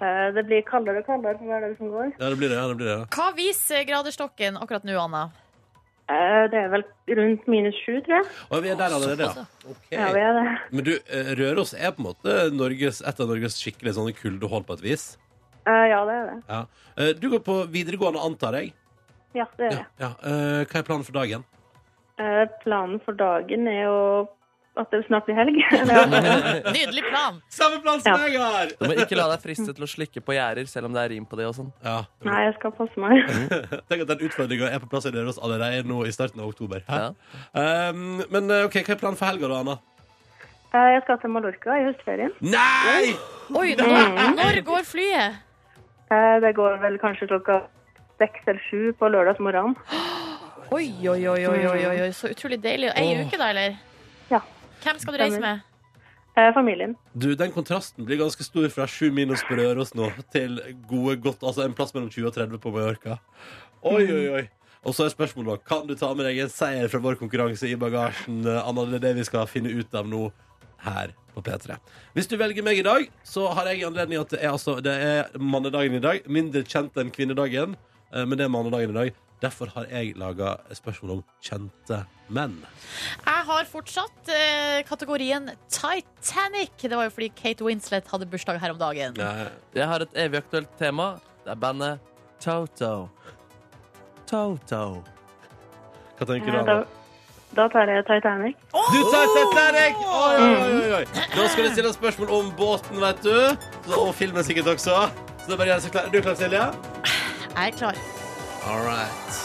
Eh, Det blir kaldere og kaldere for hver dag som går. Ja, det blir det. ja, det blir det. ja. Hva viser graderstokken akkurat nå, Anna? Eh, Det er vel rundt minus sju, tror jeg. Og vi er der allerede, ja. Ok. Ja, vi er det. Men du, eh, Røros er på en måte Norges, et av Norges skikkelig sånne kuldehold på et vis. Eh, Ja, det er det. Ja. Eh, Du går på videregående, antar jeg? Ja, det er det. ja. Eh, Hva er planen for dagen? Eh, Planen for dagen er jo at det snart blir helg. Ja. Nydelig plan. Samme plan som Ja. jeg har! Du må ikke la deg friste til å slikke på gjerder, selv om det er rim på det og sånn. Ja. Nei, jeg skal passe meg. Tenk at den utfordringa er på plass i Røros allerede nå i starten av oktober. Hæ? Ja. Um, men eh, ok, hva er planen for helga, da, Anna? Eh, Jeg skal til Mallorca i høstferien. Nei! Oi, nå, når går flyet? Eh, Det går vel kanskje klokka seks eller sju på lørdagsmorgenen. Oi, oi, oi, oi, oi, oi, oi. så utrolig deilig. Ei Åh. uke, da, eller? Ja. Hvem skal du reise med? Eh, Familien. Du, Den kontrasten blir ganske stor fra sju minus på Røros nå til gode godt, altså en plass mellom 20 og 30 på Mallorca. Oi, oi, oi. Og så er spørsmålet da, kan du ta med deg en seier fra vår konkurranse i bagasjen? eh, Anna, det er det vi skal finne ut av nå her på P3. Hvis du velger meg i dag, så har jeg anledning at det er, altså, det er mannedagen i dag. Mindre kjent enn kvinnedagen, eh, men det er mannedagen i dag. Derfor har jeg laga spørsmål om kjente menn. Jeg har fortsatt eh, kategorien Titanic. Det var jo fordi Kate Winslet hadde bursdag her om dagen. Eh, Jeg har et evig aktuelt tema. Det er bandet Toto. Toto. Hva tenker du, Eh, Anna? Da, da tar jeg Titanic. Du tar Titanic! Oi, oi, oi, oi. Da skal det stilles spørsmål om båten, vet du. Så, og filmen sikkert også. Så det er bare å gjøre seg klar. Er du klar, Silje? Jeg er klar. All right.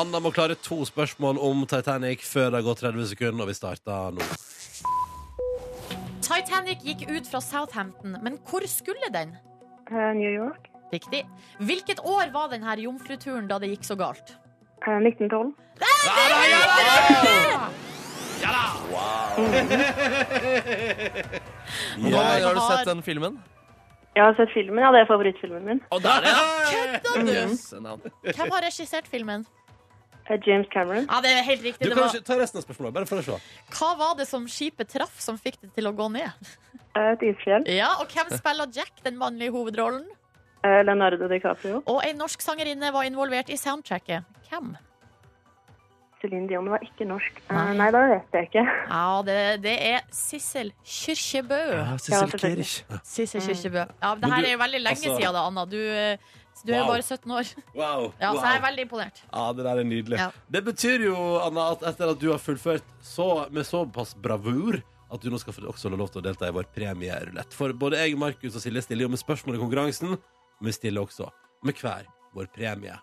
Anna må klare to spørsmål om Titanic før det har gått 30 sekunder, og vi starter nå. Titanic gikk ut fra Southampton, men hvor skulle den? Eh, New York. Riktig. Hvilket år var denne jomfruturen da det gikk så galt? Eh, 1912. Hvor mange ganger har du Jeg har- sett den filmen? Jeg har sett filmen. Ja, det er favorittfilmen min. Å, der er Kødder det! du? Yes, navn. Hvem har regissert filmen? Eh, James Cameron. Ja, det er helt riktig. Du Det kan var. ikke ta resten av spørsmålet, bare for å se. Hva var det som skipet traff som fikk det til å gå ned? Eh, Et isfjell. Ja, Og hvem spiller Jack, den mannlige hovedrollen? Eh, Leonardo DiCaprio. Og ei norsk sangerinne var involvert i soundtracket. Hvem? Celine Dion var ikke norsk. Eh, Nei. Nei, da vet jeg ikke. Ja, det, det er Sissel Kyrkjebø. Ja, Ja, Sissel selvfølgelig. Kirch. Sissel Kyrkjebø. Ja, Men det her du- er jo veldig lenge altså- siden, da, Anna. Du, eh, du er jo Wow. bare 17 år. Wow. Ja, Så wow. jeg er veldig imponert. Ja, det der er nydelig. Ja. Det betyr jo, Anna, at etter at du har fullført så, med såpass bravur at du nå skal få også få lov til å delta i vår premierulett. For både jeg, Markus og Silje stiller jo med spørsmål i konkurransen, men vi stiller også med hver vår premie.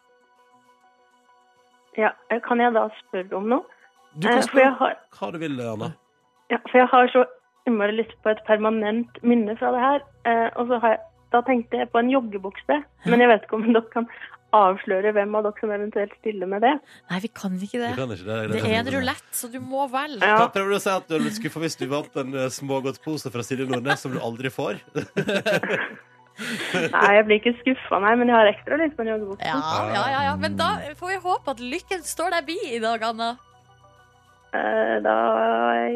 Ja, eh, kan jeg da spørre om noe? Du Eh, kan For jeg spørre har, hva du vil, Anna. ja, for jeg har så innmari lyst på et permanent minne fra det her. Eh, og så har jeg, da tenkte jeg på en joggebukse, men jeg vet ikke om dere kan avsløre hvem av dere som eventuelt stiller med det. Nei, vi kan ikke Du det. kan ikke det. Det er en rulett, så du må velge. Ja, Hva prøver du å si at du hadde blitt skuffa hvis du vant en eh, smågodtpose fra Silje Nordnes som du aldri får? nei, jeg blir ikke skuffa, nei, men jeg har ekstra lyst på en joggebukse. Ja, ja, ja, ja. Men da får vi håpe at lykken står deg bi i dag, Anna. Eh, da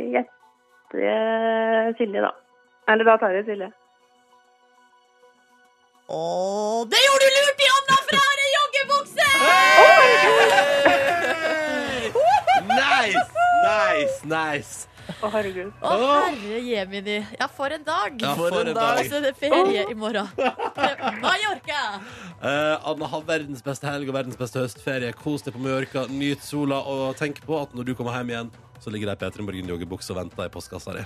gjetter jeg Silje, da. Eller da tar jeg Silje. Å, det gjorde du lurt i, Anna, for jeg har en joggebukse! Nice, nice, nice. Å, herregud. Å, herre jemini. Ja, for en dag. Ja, for en Og dag. så er det ferie i morgen. Mallorca! Eh, Anna, ha verdens beste helg og verdens beste høstferie. Kos deg på Mallorca, nyt sola, og tenk på at når du kommer hjem igjen, så ligger det ei P3 Morgen-joggebukse og venter i postkassa di.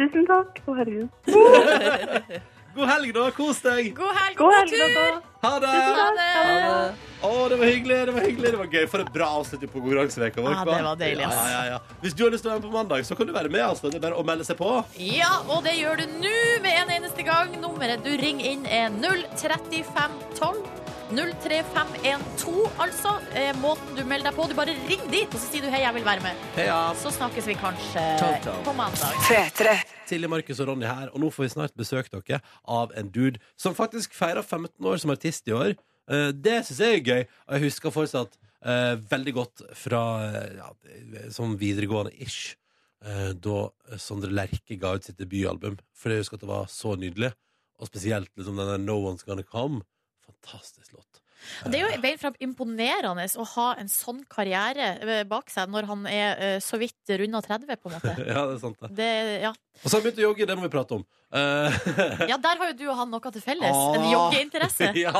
Tusen takk. Å, herregud. God helg, da. Kos deg. God helg, God god, helg, tur! da. Ha det. Ha det! Å, det var hyggelig, det var hyggelig, det var gøy. For et bra avslutt på konkurranseveka vår. Ja, hva? det var deilig, ass. Ja, ja, ja. Hvis du har lyst til å være med på mandag, så kan du være med. Altså. Det er bare å melde seg på. Ja, og det gjør du nå med en eneste gang. Nummeret du ringer inn er 03512. 03512, altså. Er måten du melder deg på. Du bare ring dit, og så sier du hei, jeg vil være med. Heia. Så snakkes vi kanskje Ciao, ciao. på mandag. Silje, Markus og Ronny her, og nå får vi snart besøk dere av en dude som faktisk feirer 15 år som artist i år. Eh, Det syns jeg er gøy, og jeg husker fortsatt eh, veldig godt fra eh, ja, det- som videregående-ish. eh, da Sondre Lerche ga ut sitt debutalbum. For jeg husker at det var så nydelig. Og spesielt liksom, den der 'No One's Gonna Come'. Fantastisk låt. Og Det er jo beint fram imponerende å ha en sånn karriere eh, bak seg når han er eh, så vidt runda 30, på en måte. Ja, det er sant, det. Det, ja. Og så har han begynt å jogge, det må vi prate om. Eh, ja, der har jo du og han noe til felles. En Ah. joggeinteresse. ja.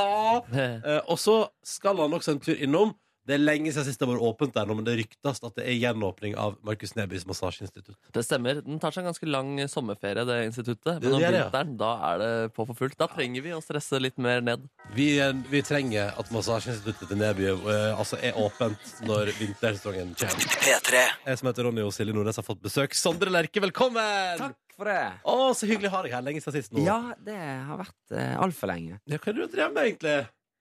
Hei. Eh, og så skal han også en tur innom. Det er lenge siden sist det har vært åpent der nå, men det ryktes at det er gjenåpning av Markus Nebys massasjeinstitutt. Det stemmer. Den tar seg en ganske lang sommerferie, det instituttet. Det Men om er det, ja. vinteren, da er det på for fullt. Da trenger vi å stresse litt mer ned. Vi, eh, vi trenger at massasjeinstituttet til Neby eh, altså er åpent når vintersesongen kommer. Jeg som heter Ronny og Silje Nordnes har fått besøk. Sondre Lerche, velkommen! Takk for det. Å, så hyggelig å ha deg her. Lenge siden sist nå. Ja, det har vært uh, altfor lenge. Ja, Hva er det du drev med, egentlig?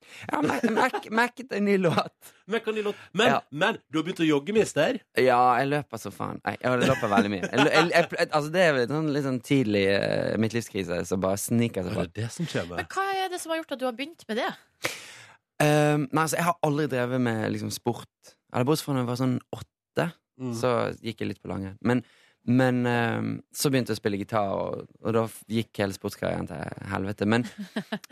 Jeg har merket merk, merket en ny låt. Mekanilot. Men, Ja. men du har begynt å jogge, mister. Ja, jeg løper så faen. Jeg, jeg løper veldig mye. Jeg, jeg, jeg, altså, det er vel litt sånn, litt sånn tidlig eh, midtlivskrise som bare sniker seg Hva på. er det det som kommer? Men hva er det som har gjort at du har begynt med det? Um, nei, altså, jeg har aldri drevet med liksom, sport. Eller bortsett fra da jeg var sånn åtte, Mm. så gikk jeg litt på langrenn. Men, men um, så begynte jeg å spille gitar, og, og da f- gikk hele sportskarrieren til helvete. Men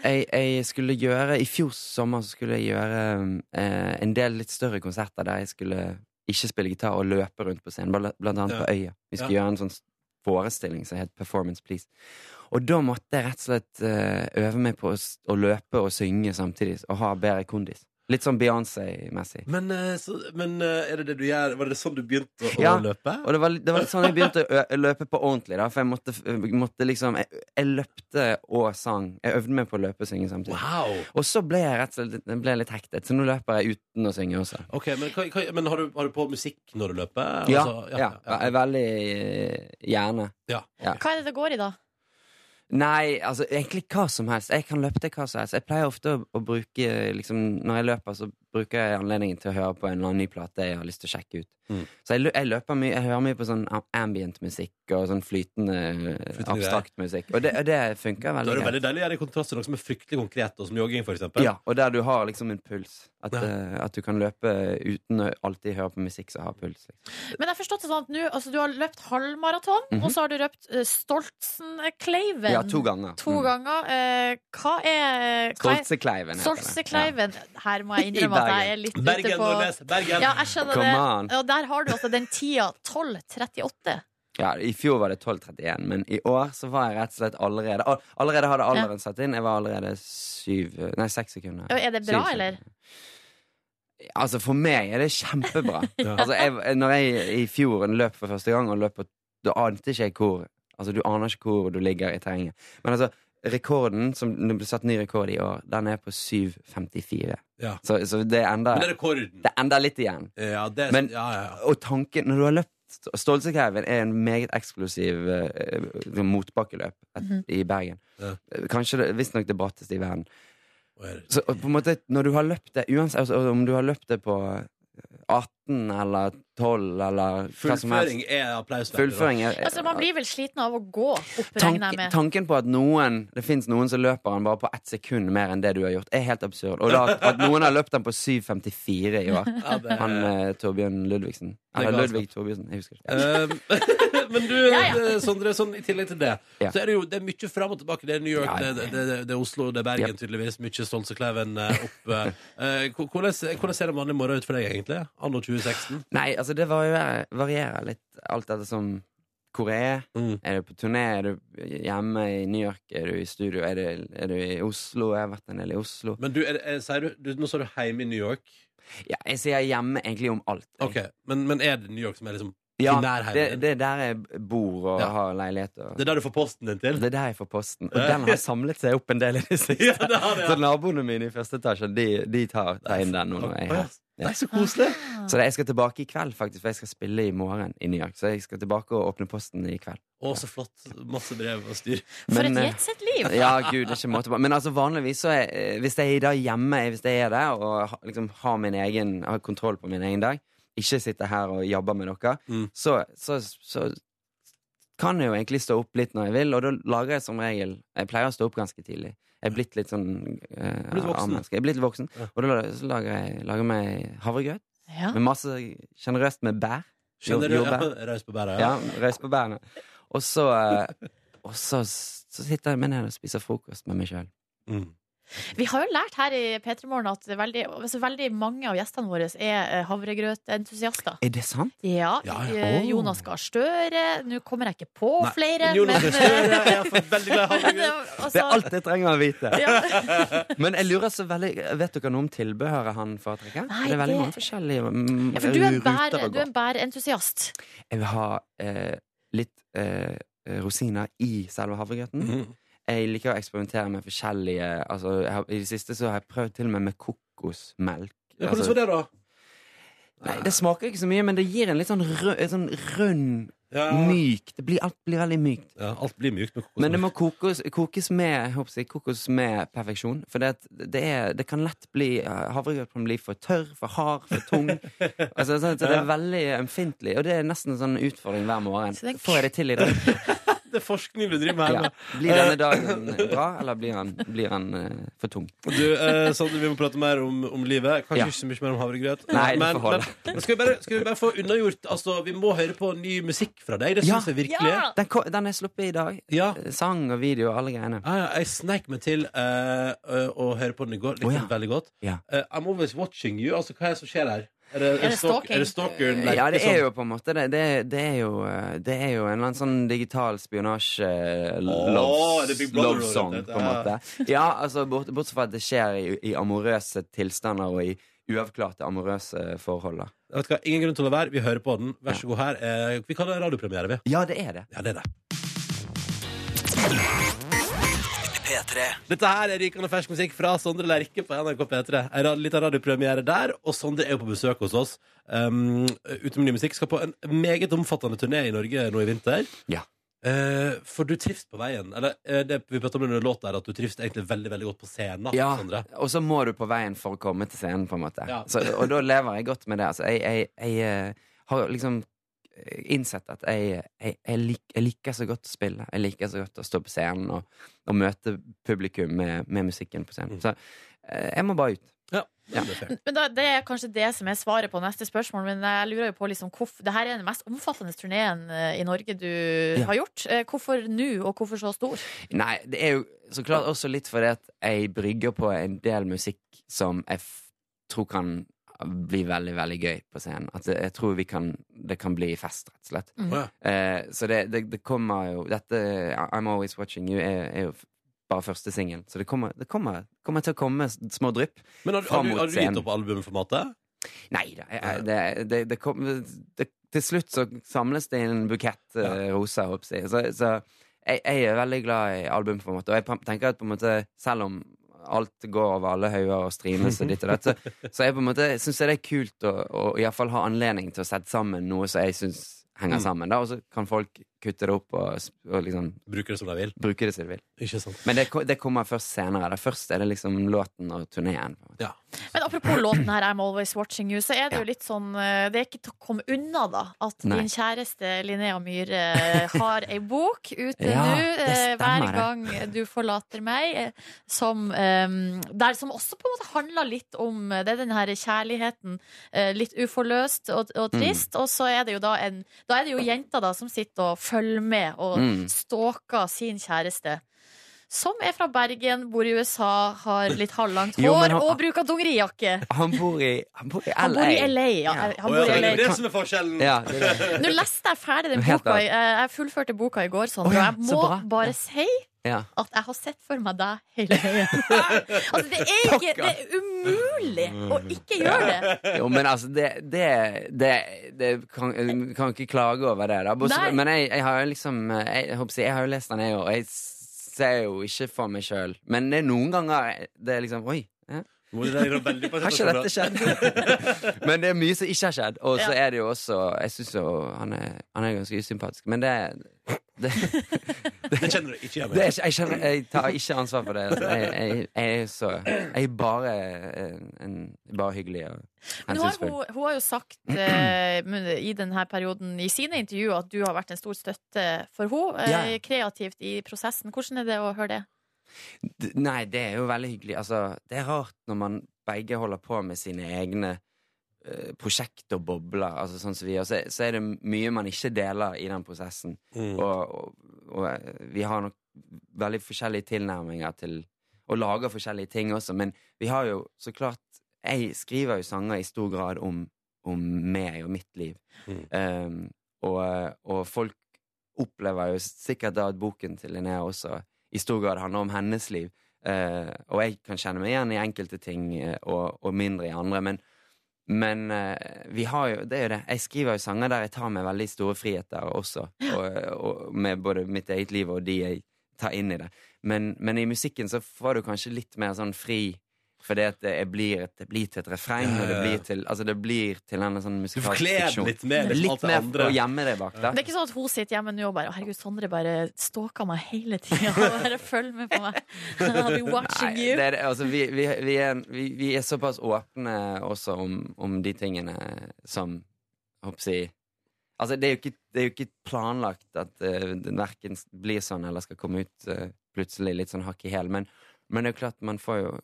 jeg, jeg skulle gjøre I fjor sommer så skulle jeg gjøre um, eh, en del litt større konserter der jeg skulle ikke spille gitar og løpe rundt på scenen, bl- blant Ja. annet på Øya. Vi skulle Ja. gjøre en sånn s- forestilling som het Performance Please. Og da måtte jeg rett og slett eh, øve meg på å, s- å løpe og synge samtidig, og ha bedre kondis. Litt sånn Beyoncé-messig. Men, eh, så, men eh, er det det du gjør? Var det sånn du begynte å, å Ja. løpe? Og det var, litt- det var litt sånn jeg begynte å ø- løpe på ordentlig, da, for jeg måtte, f- måtte liksom jeg, jeg løpte og sang. Jeg øvde meg på å løpe og synge samtidig. Wow! Og så ble jeg rett og slett jeg ble litt hektet, så nå løper jeg uten å synge også. Ok, Men, hva- hva- men har, du, har du på musikk når du løper? Ja, Altså, ja, jeg er veldig eh, gjerne. Hva er det det går i, da? Nei, altså egentlig hva som helst. Jeg kan løpe til hva som helst. Jeg pleier ofte å, å bruke liksom, Når jeg løper, så bruker jeg anledningen til å høre på en eller annen ny plate jeg har lyst til å sjekke ut. Mm. Så jeg, lø- jeg løper mye Jeg hører mye på sånn a- ambient musikk og sånn flytende, Flytende greier. abstrakt musikk. Og det, og det funker Da er det veldig greit. veldig deilig å gjøre det i kontrast til noe som er fryktelig konkret, og som jogging, for eksempel. Ja, og der du har liksom en puls. At, Ja. eh, at du kan løpe uten å alltid høre på musikk som har puls. Liksom. Men jeg har forstått det sånn at nå, altså, du har løpt halvmaraton, Mhm. og så har du løpt uh, Stoltsen-Kleiven. Ja, to ganger. To Mm. ganger. Eh, hva er, hva er Stoltsekleiven heter det. Stoltsekleiven. Her må jeg I innrømme at jeg Bergen. er litt Bergen, ute på Nordnes! Bergen! Ja, jeg skjønner Come det. on. Og der har du altså den tida 12.38. Ja, I fjor var det 12.31, men i år så var jeg rett og slett allerede all- Allerede hadde alderen satt inn. Jeg var allerede syv Nei, seks sekunder. Er det bra, Syv sekunder. eller? Altså, for meg er det kjempebra. Ja. Altså, jeg, når jeg i fjor løp for første gang, og løp på Da ante ikke jeg hvor Altså, du aner ikke hvor du ligger i terrenget. Men altså, rekorden som Det ble satt ny rekord i år, den er på 7.54. Ja. Så, så det er enda Men det er rekorden. Det er enda litt igjen. Ja, det er, Men- ja, ja, ja. Og tanken Når du har løpt Stolsekleiven er en meget eksklusiv eh, motbakkeløp et, Mhm. i Bergen. Eh, Ja. Kanskje det- Visstnok det bratteste i verden. Og er det- Så og på en måte, når du har løpt det uansett altså, Om du har løpt det på 18 13 eller 12 eller hva som helst. Fullføring er applaus. verdt, Fullføring er Altså, man blir vel sliten av å gå opp, Tank, regner jeg med. tanken på at noen det fins noen som løper den bare på ett sekund mer enn det du har gjort, er helt absurd. Og da, at noen har løpt den på 7,54 i år. da. Ja, det, Han eh, Torbjørn Ludvigsen. er Eller galskap. Ludvig Torbjørnsen. Jeg husker ikke. Eh, Ehm, Men du, Ja, ja. eh, Sondre, sånn, i tillegg til det, Ja. så er det jo det er mye fram og tilbake. Det er New York, Ja, ja. Det, det, det, det er Oslo, det er Bergen, Yep. tydeligvis. Mye Stolsekleven eh, opp. eh. Eh, hvor- hvordan, hvordan ser en vanlig morgen ut for deg, egentlig? Anno 2016? Nei, altså det varierer, varierer litt alt etter som hvor jeg er. Mm. Er du på turné? Er du hjemme i New York? Er du i studio? Er du, er du i Oslo? Jeg har vært en del i Oslo. Men du, er, det- er, sier du, du, nå sa du hjemme i New York. Ja, jeg sier hjemme egentlig om alt. jeg. Ok, men, men er det New York som er liksom Ja, i nærheten? det, det er der jeg bor og Ja. har leilighet. Og, Det er der du får posten din til? det er der jeg får posten. Og den har samlet seg opp en del i det siste. Ja, det har det, Så ja. naboene mine i første etasje, de, de tar, tar inn den nå når jeg er her. Det er så koselig! Så jeg skal tilbake i kveld, faktisk, for jeg skal spille i morgen i New York. Så jeg skal tilbake og åpne posten i kveld. Å, så flott. Masse brev og styr. For et Men, eh, jetsett-liv! Ja, gud, det er ikke måte på. Men altså, vanligvis så er, eh, Hvis jeg da hjemme Hvis jeg er der og ha- liksom har min egen Har kontroll på min egen dag, ikke sitter her og jabber med dere, Mm. så, så, så kan jeg jo egentlig stå opp litt når jeg vil, og da lager jeg som regel Jeg pleier å stå opp ganske tidlig. Jeg er blitt litt sånn eh, Blitt voksen. A-menneske. Jeg er blitt litt voksen. Ja. Og da la- så lager jeg lager meg havregrøt Ja. med masse sjenerøst med bær. Jo- Skjønner du? Ja, jordbær. Raus på bæra, ja. Ja, røys på bærene. Og så, eh, og så, så sitter jeg meg ned og spiser frokost med meg sjøl. Mm. Vi har jo lært her i P3 Morgen at det er veldig, altså veldig mange av gjestene våre er eh, havregrøtentusiaster. Er det sant? Ja, Ja, ja. eh, Oh. Jonas Gahr Støre Nå kommer jeg ikke på Nei, flere, Men Jonas men, eh, Gahr Støre er for veldig glad i det, havregryn. Det altså, er alt jeg trenger å vite. ja. Men jeg lurer så veldig Vet dere noe om tilbehøret han foretrekker? Nei, det er veldig det- mange forskjellige mm, Ja, for du er en ruter bær- du å er gå. en bærentusiast. Jeg vil ha eh, litt eh, rosiner i selve havregrøten. Mm. Jeg liker å eksperimentere med forskjellige altså, jeg har, I det siste så har jeg prøvd til og med med kokosmelk. Ja, Altså, hvordan var det, da? nei, det smaker ikke så mye, men det gir en litt sånn, rød, en sånn rund Ja. Mykt. Det blir, alt blir veldig mykt. Ja, alt blir mykt med kokos. Men det må kokes, kokes, med, jeg håper å si, kokes med perfeksjon. For det, at det, er, det kan lett bli eh, Havregrøt kan bli for tørr, for hard, for tung. altså, sånn, så det er veldig ømfintlig. Og det er nesten en sånn utfordring hver morgen. Så det er- Får jeg det til i dag? Det er forskning du driver med her. Ja. nå. Blir denne dagen eh, bra, eller blir han, blir han eh, for tung? Du, eh, Sander, vi må prate mer om, om livet. Kanskje Ja. ikke så mye mer om havregrøt. Nei, det men, får holde. men skal, vi bare, skal vi bare få unnagjort Altså, Vi må høre på ny musikk fra deg. Det Ja. syns jeg virkelig. Ja! Den, ko- den er sluppet i dag. Ja. Eh, Sang og video og alle greiene. Ah, Ja, ja, jeg sneik meg til eh, eh, å høre på den i går. Likte Å, ja. den veldig godt. Ja. Eh, I'm always watching you. Altså, Hva er det som skjer her? Er det, det stalk- stalking? Er det stalkeren? Ja, det Liksom. er jo på en måte det. Det, det, er, jo, eh, det er jo en eller annen sånn digital spionasje eh, Åh, loves- det er Big Brother love song, over dette, på en ja. måte. Ja, altså bort, bortsett fra at det skjer i, i amorøse tilstander og i uavklarte amorøse forhold. da. Vet du hva, Ingen grunn til å la være. Vi hører på den. Vær så god her. Eh, vi kaller det radiopremiere, vi. Ja, det er det. Ja, det er det. Dette her er rykende fersk musikk fra Sondre Lerche på NRK P3. En rad- liten radiopremiere der, og Sondre er jo på besøk hos oss. Um, Ute med ny musikk. Skal på en meget omfattende turné i Norge nå i vinter. Ja. Eh, for du trives på veien. Eller eh, det vi pratet om under låta, er at du trives egentlig veldig veldig godt på scenen. Ja, Sondre. og så må du på veien for å komme til scenen, på en måte. Ja. Så, og da lever jeg godt med det. Altså, jeg, jeg, jeg eh, har liksom eh, innsett at jeg, jeg, jeg, lik, jeg liker så godt å spille. Jeg liker så godt å stå på scenen og, og møte publikum med, med musikken på scenen. Så eh, jeg må bare ut. Ja. Det er fair. Men da, Det er kanskje det som er svaret på neste spørsmål. Men jeg lurer jo på liksom, hvorf- det her er den mest omfattende turneen eh, i Norge du har gjort. Eh, Hvorfor nå, og hvorfor så stor? Nei, det er jo så klart også litt fordi at jeg brygger på en del musikk som jeg f tror kan bli veldig, veldig gøy på scenen. At jeg tror vi kan, det kan bli fest, rett og slett. Å, ja. Eh, så det, det, det kommer jo Dette I'm Always Watching You er, er jo f- bare første singel. Så det kommer, det kommer, kommer til å komme s- små drypp. Men har, Fram har, du, mot har du scenen. gitt opp albumformatet? Nei da. jeg- jeg- Det, det, det kom, det, til slutt så samles det en bukett eh, roser, håper jeg. Så, så jeg, jeg er veldig glad i albumformat. Og jeg pa- tenker at på en måte, selv om alt går over alle hauger og streames og ditt og datt, så, så jeg på en måte syns det er kult å, å iallfall ha anledning til å sette sammen noe som jeg syns henger sammen. Da. Og så kan folk kutte det opp og, s- og liksom Bruker det som de vil. bruke det som du vil. Ikke sant? Men det, ko- det kommer først senere. Da. Først er det liksom låten og turneen. Men apropos låten her, I'm Always Watching You, så er det jo litt sånn eh, Det er ikke til å komme unna, da, at Nei. din kjæreste Linnea Myhre eh, har ei bok ute Ja, nå, det eh, stemmer Hver det. gang du forlater meg, eh, som eh, Der som også på en måte handler litt om eh, Det er den her kjærligheten. eh, Litt uforløst og, og Mm. trist. Og så er det jo da en Da er det jo jenta da som sitter og følger med og Mm. stalker sin kjæreste. Som er fra Bergen, bor i USA, har litt halvlangt hår Jo, men han- og bruker dongerijakke. Han bor i, han bor i LA. Han bor i LA. Ja. Ja. Han Å, ja, bor i det LA. er det som er forskjellen! Ja, det er det. Nå leste jeg ferdig den Helt boka. bra. i- eh, Jeg fullførte boka i går, Sondre. Å Og ja, jeg så bra. må bare Ja. si Ja. at jeg har sett for meg deg hele veien. altså, det er, ikke, det er umulig å ikke gjøre det. Jo, men altså, det, det, det, det kan, kan ikke klage over det, da. Nei. Bortsett- Men jeg, jeg har jo liksom jeg, jeg, håper å si, jeg har jo lest den, jeg òg. Jeg ser jo ikke for meg sjøl. Men det er noen ganger det er liksom Oi. Ja. Nå er det veldig på Har ikke dette skjedd? men det er mye som ikke har skjedd. Og så er det jo også Jeg syns jo han er, han er ganske usympatisk. Men det, det, Det kjenner du ikke igjen det er, ikke- jeg, skjønner, jeg tar ikke ansvar for det. Altså. Jeg, jeg, jeg er så Jeg er bare, en, en, bare hyggelig og Men hun har, hensynsfull. hun, hun har jo sagt eh, men i denne perioden i sine intervjuer at du har vært en stor støtte for henne eh, Ja. kreativt i prosessen. Hvordan er det å høre det? D- Nei, det er jo veldig hyggelig. Altså, det er rart når man begge holder på med sine egne eh, prosjekt og bobler, altså sånn som vi gjør, så, så er det mye man ikke deler i den prosessen. Mm. Og, og, og eh, vi har nok veldig forskjellige tilnærminger til Og lager forskjellige ting også, men vi har jo så klart Jeg skriver jo sanger i stor grad om, om meg og mitt liv. Um, og, og folk opplever jo sikkert da at boken til Linnea også i stor grad handler om hennes liv. Eh, og jeg kan kjenne meg igjen i enkelte ting eh, og, og mindre i andre, men, men eh, vi har jo Det er jo det. Jeg skriver jo sanger der jeg tar meg veldig store friheter også, og, eh, og med både mitt eget liv og de jeg tar inn i det. Men, men i musikken så får du kanskje litt mer sånn fri fordi at det er- blir, et, det blir til et refreng, og Ja, det ja, ja. blir til Altså, det blir til en sånn Du musikalsk forkler den fiksjon. litt mer. Liksom, alt Litt det mer andre. å gjemme det bak, da. Det er ikke sånn at hun sitter hjemme nå og bare «Å, 'Herregud, Sondre bare stalker meg hele tida' og bare følger med på meg. I'll be watching Nei, you. det er, det- altså, vi, vi, vi, er, vi, vi er såpass åpne også om, om de tingene som Håper jeg Altså, det er jo ikke, det er jo ikke planlagt at eh, den verken blir sånn eller skal komme ut eh, plutselig litt sånn hakk i hæl, men, men det er jo klart man får jo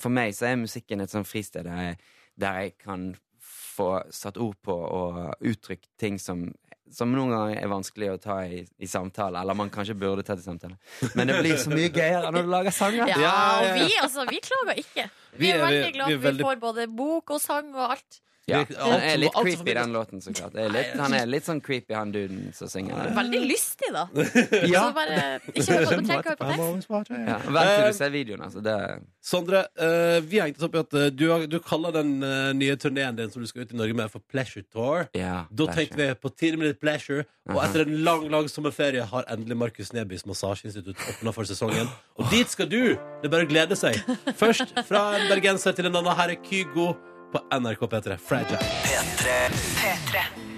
For meg så er musikken et sånn fristed der jeg, der jeg kan få satt ord på og uttrykt ting som som noen ganger er vanskelig å ta i, i samtale, eller man kanskje burde ta til samtale. Men det blir så mye gøyere når du lager sanger. Ja, Ja, ja, og ja. vi, altså, vi klager ikke. Vi Vi er er- vi- veldig glad vi er for at vi veldig- får både bok og sang og alt. Ja. Det- alt Han er som- litt alt som creepy, formidles- den låten, så klart. Det er litt, han er litt sånn creepy, han duden som synger. Veldig lystig, da. det. Ja. Så bare, ikke hør på, trenger ikke høre på tekst. Ja. Vent Eh, til du ser videoen, altså. Det, Sondre, eh, vi hengte oss opp i at eh, du, har- du kaller den eh, nye turneen din som du skal ut i Norge med, for Pleasure Tour. ja, Da tenkte vi på 10 Minute Pleasure, og Aha. etter en lang lang sommerferie har endelig Markus Nebys massasjeinstitutt åpna for sesongen. Og dit skal du! Det er bare å glede seg. Først fra en bergenser til en annen. Her er Kygo på NRK P3. Fragile.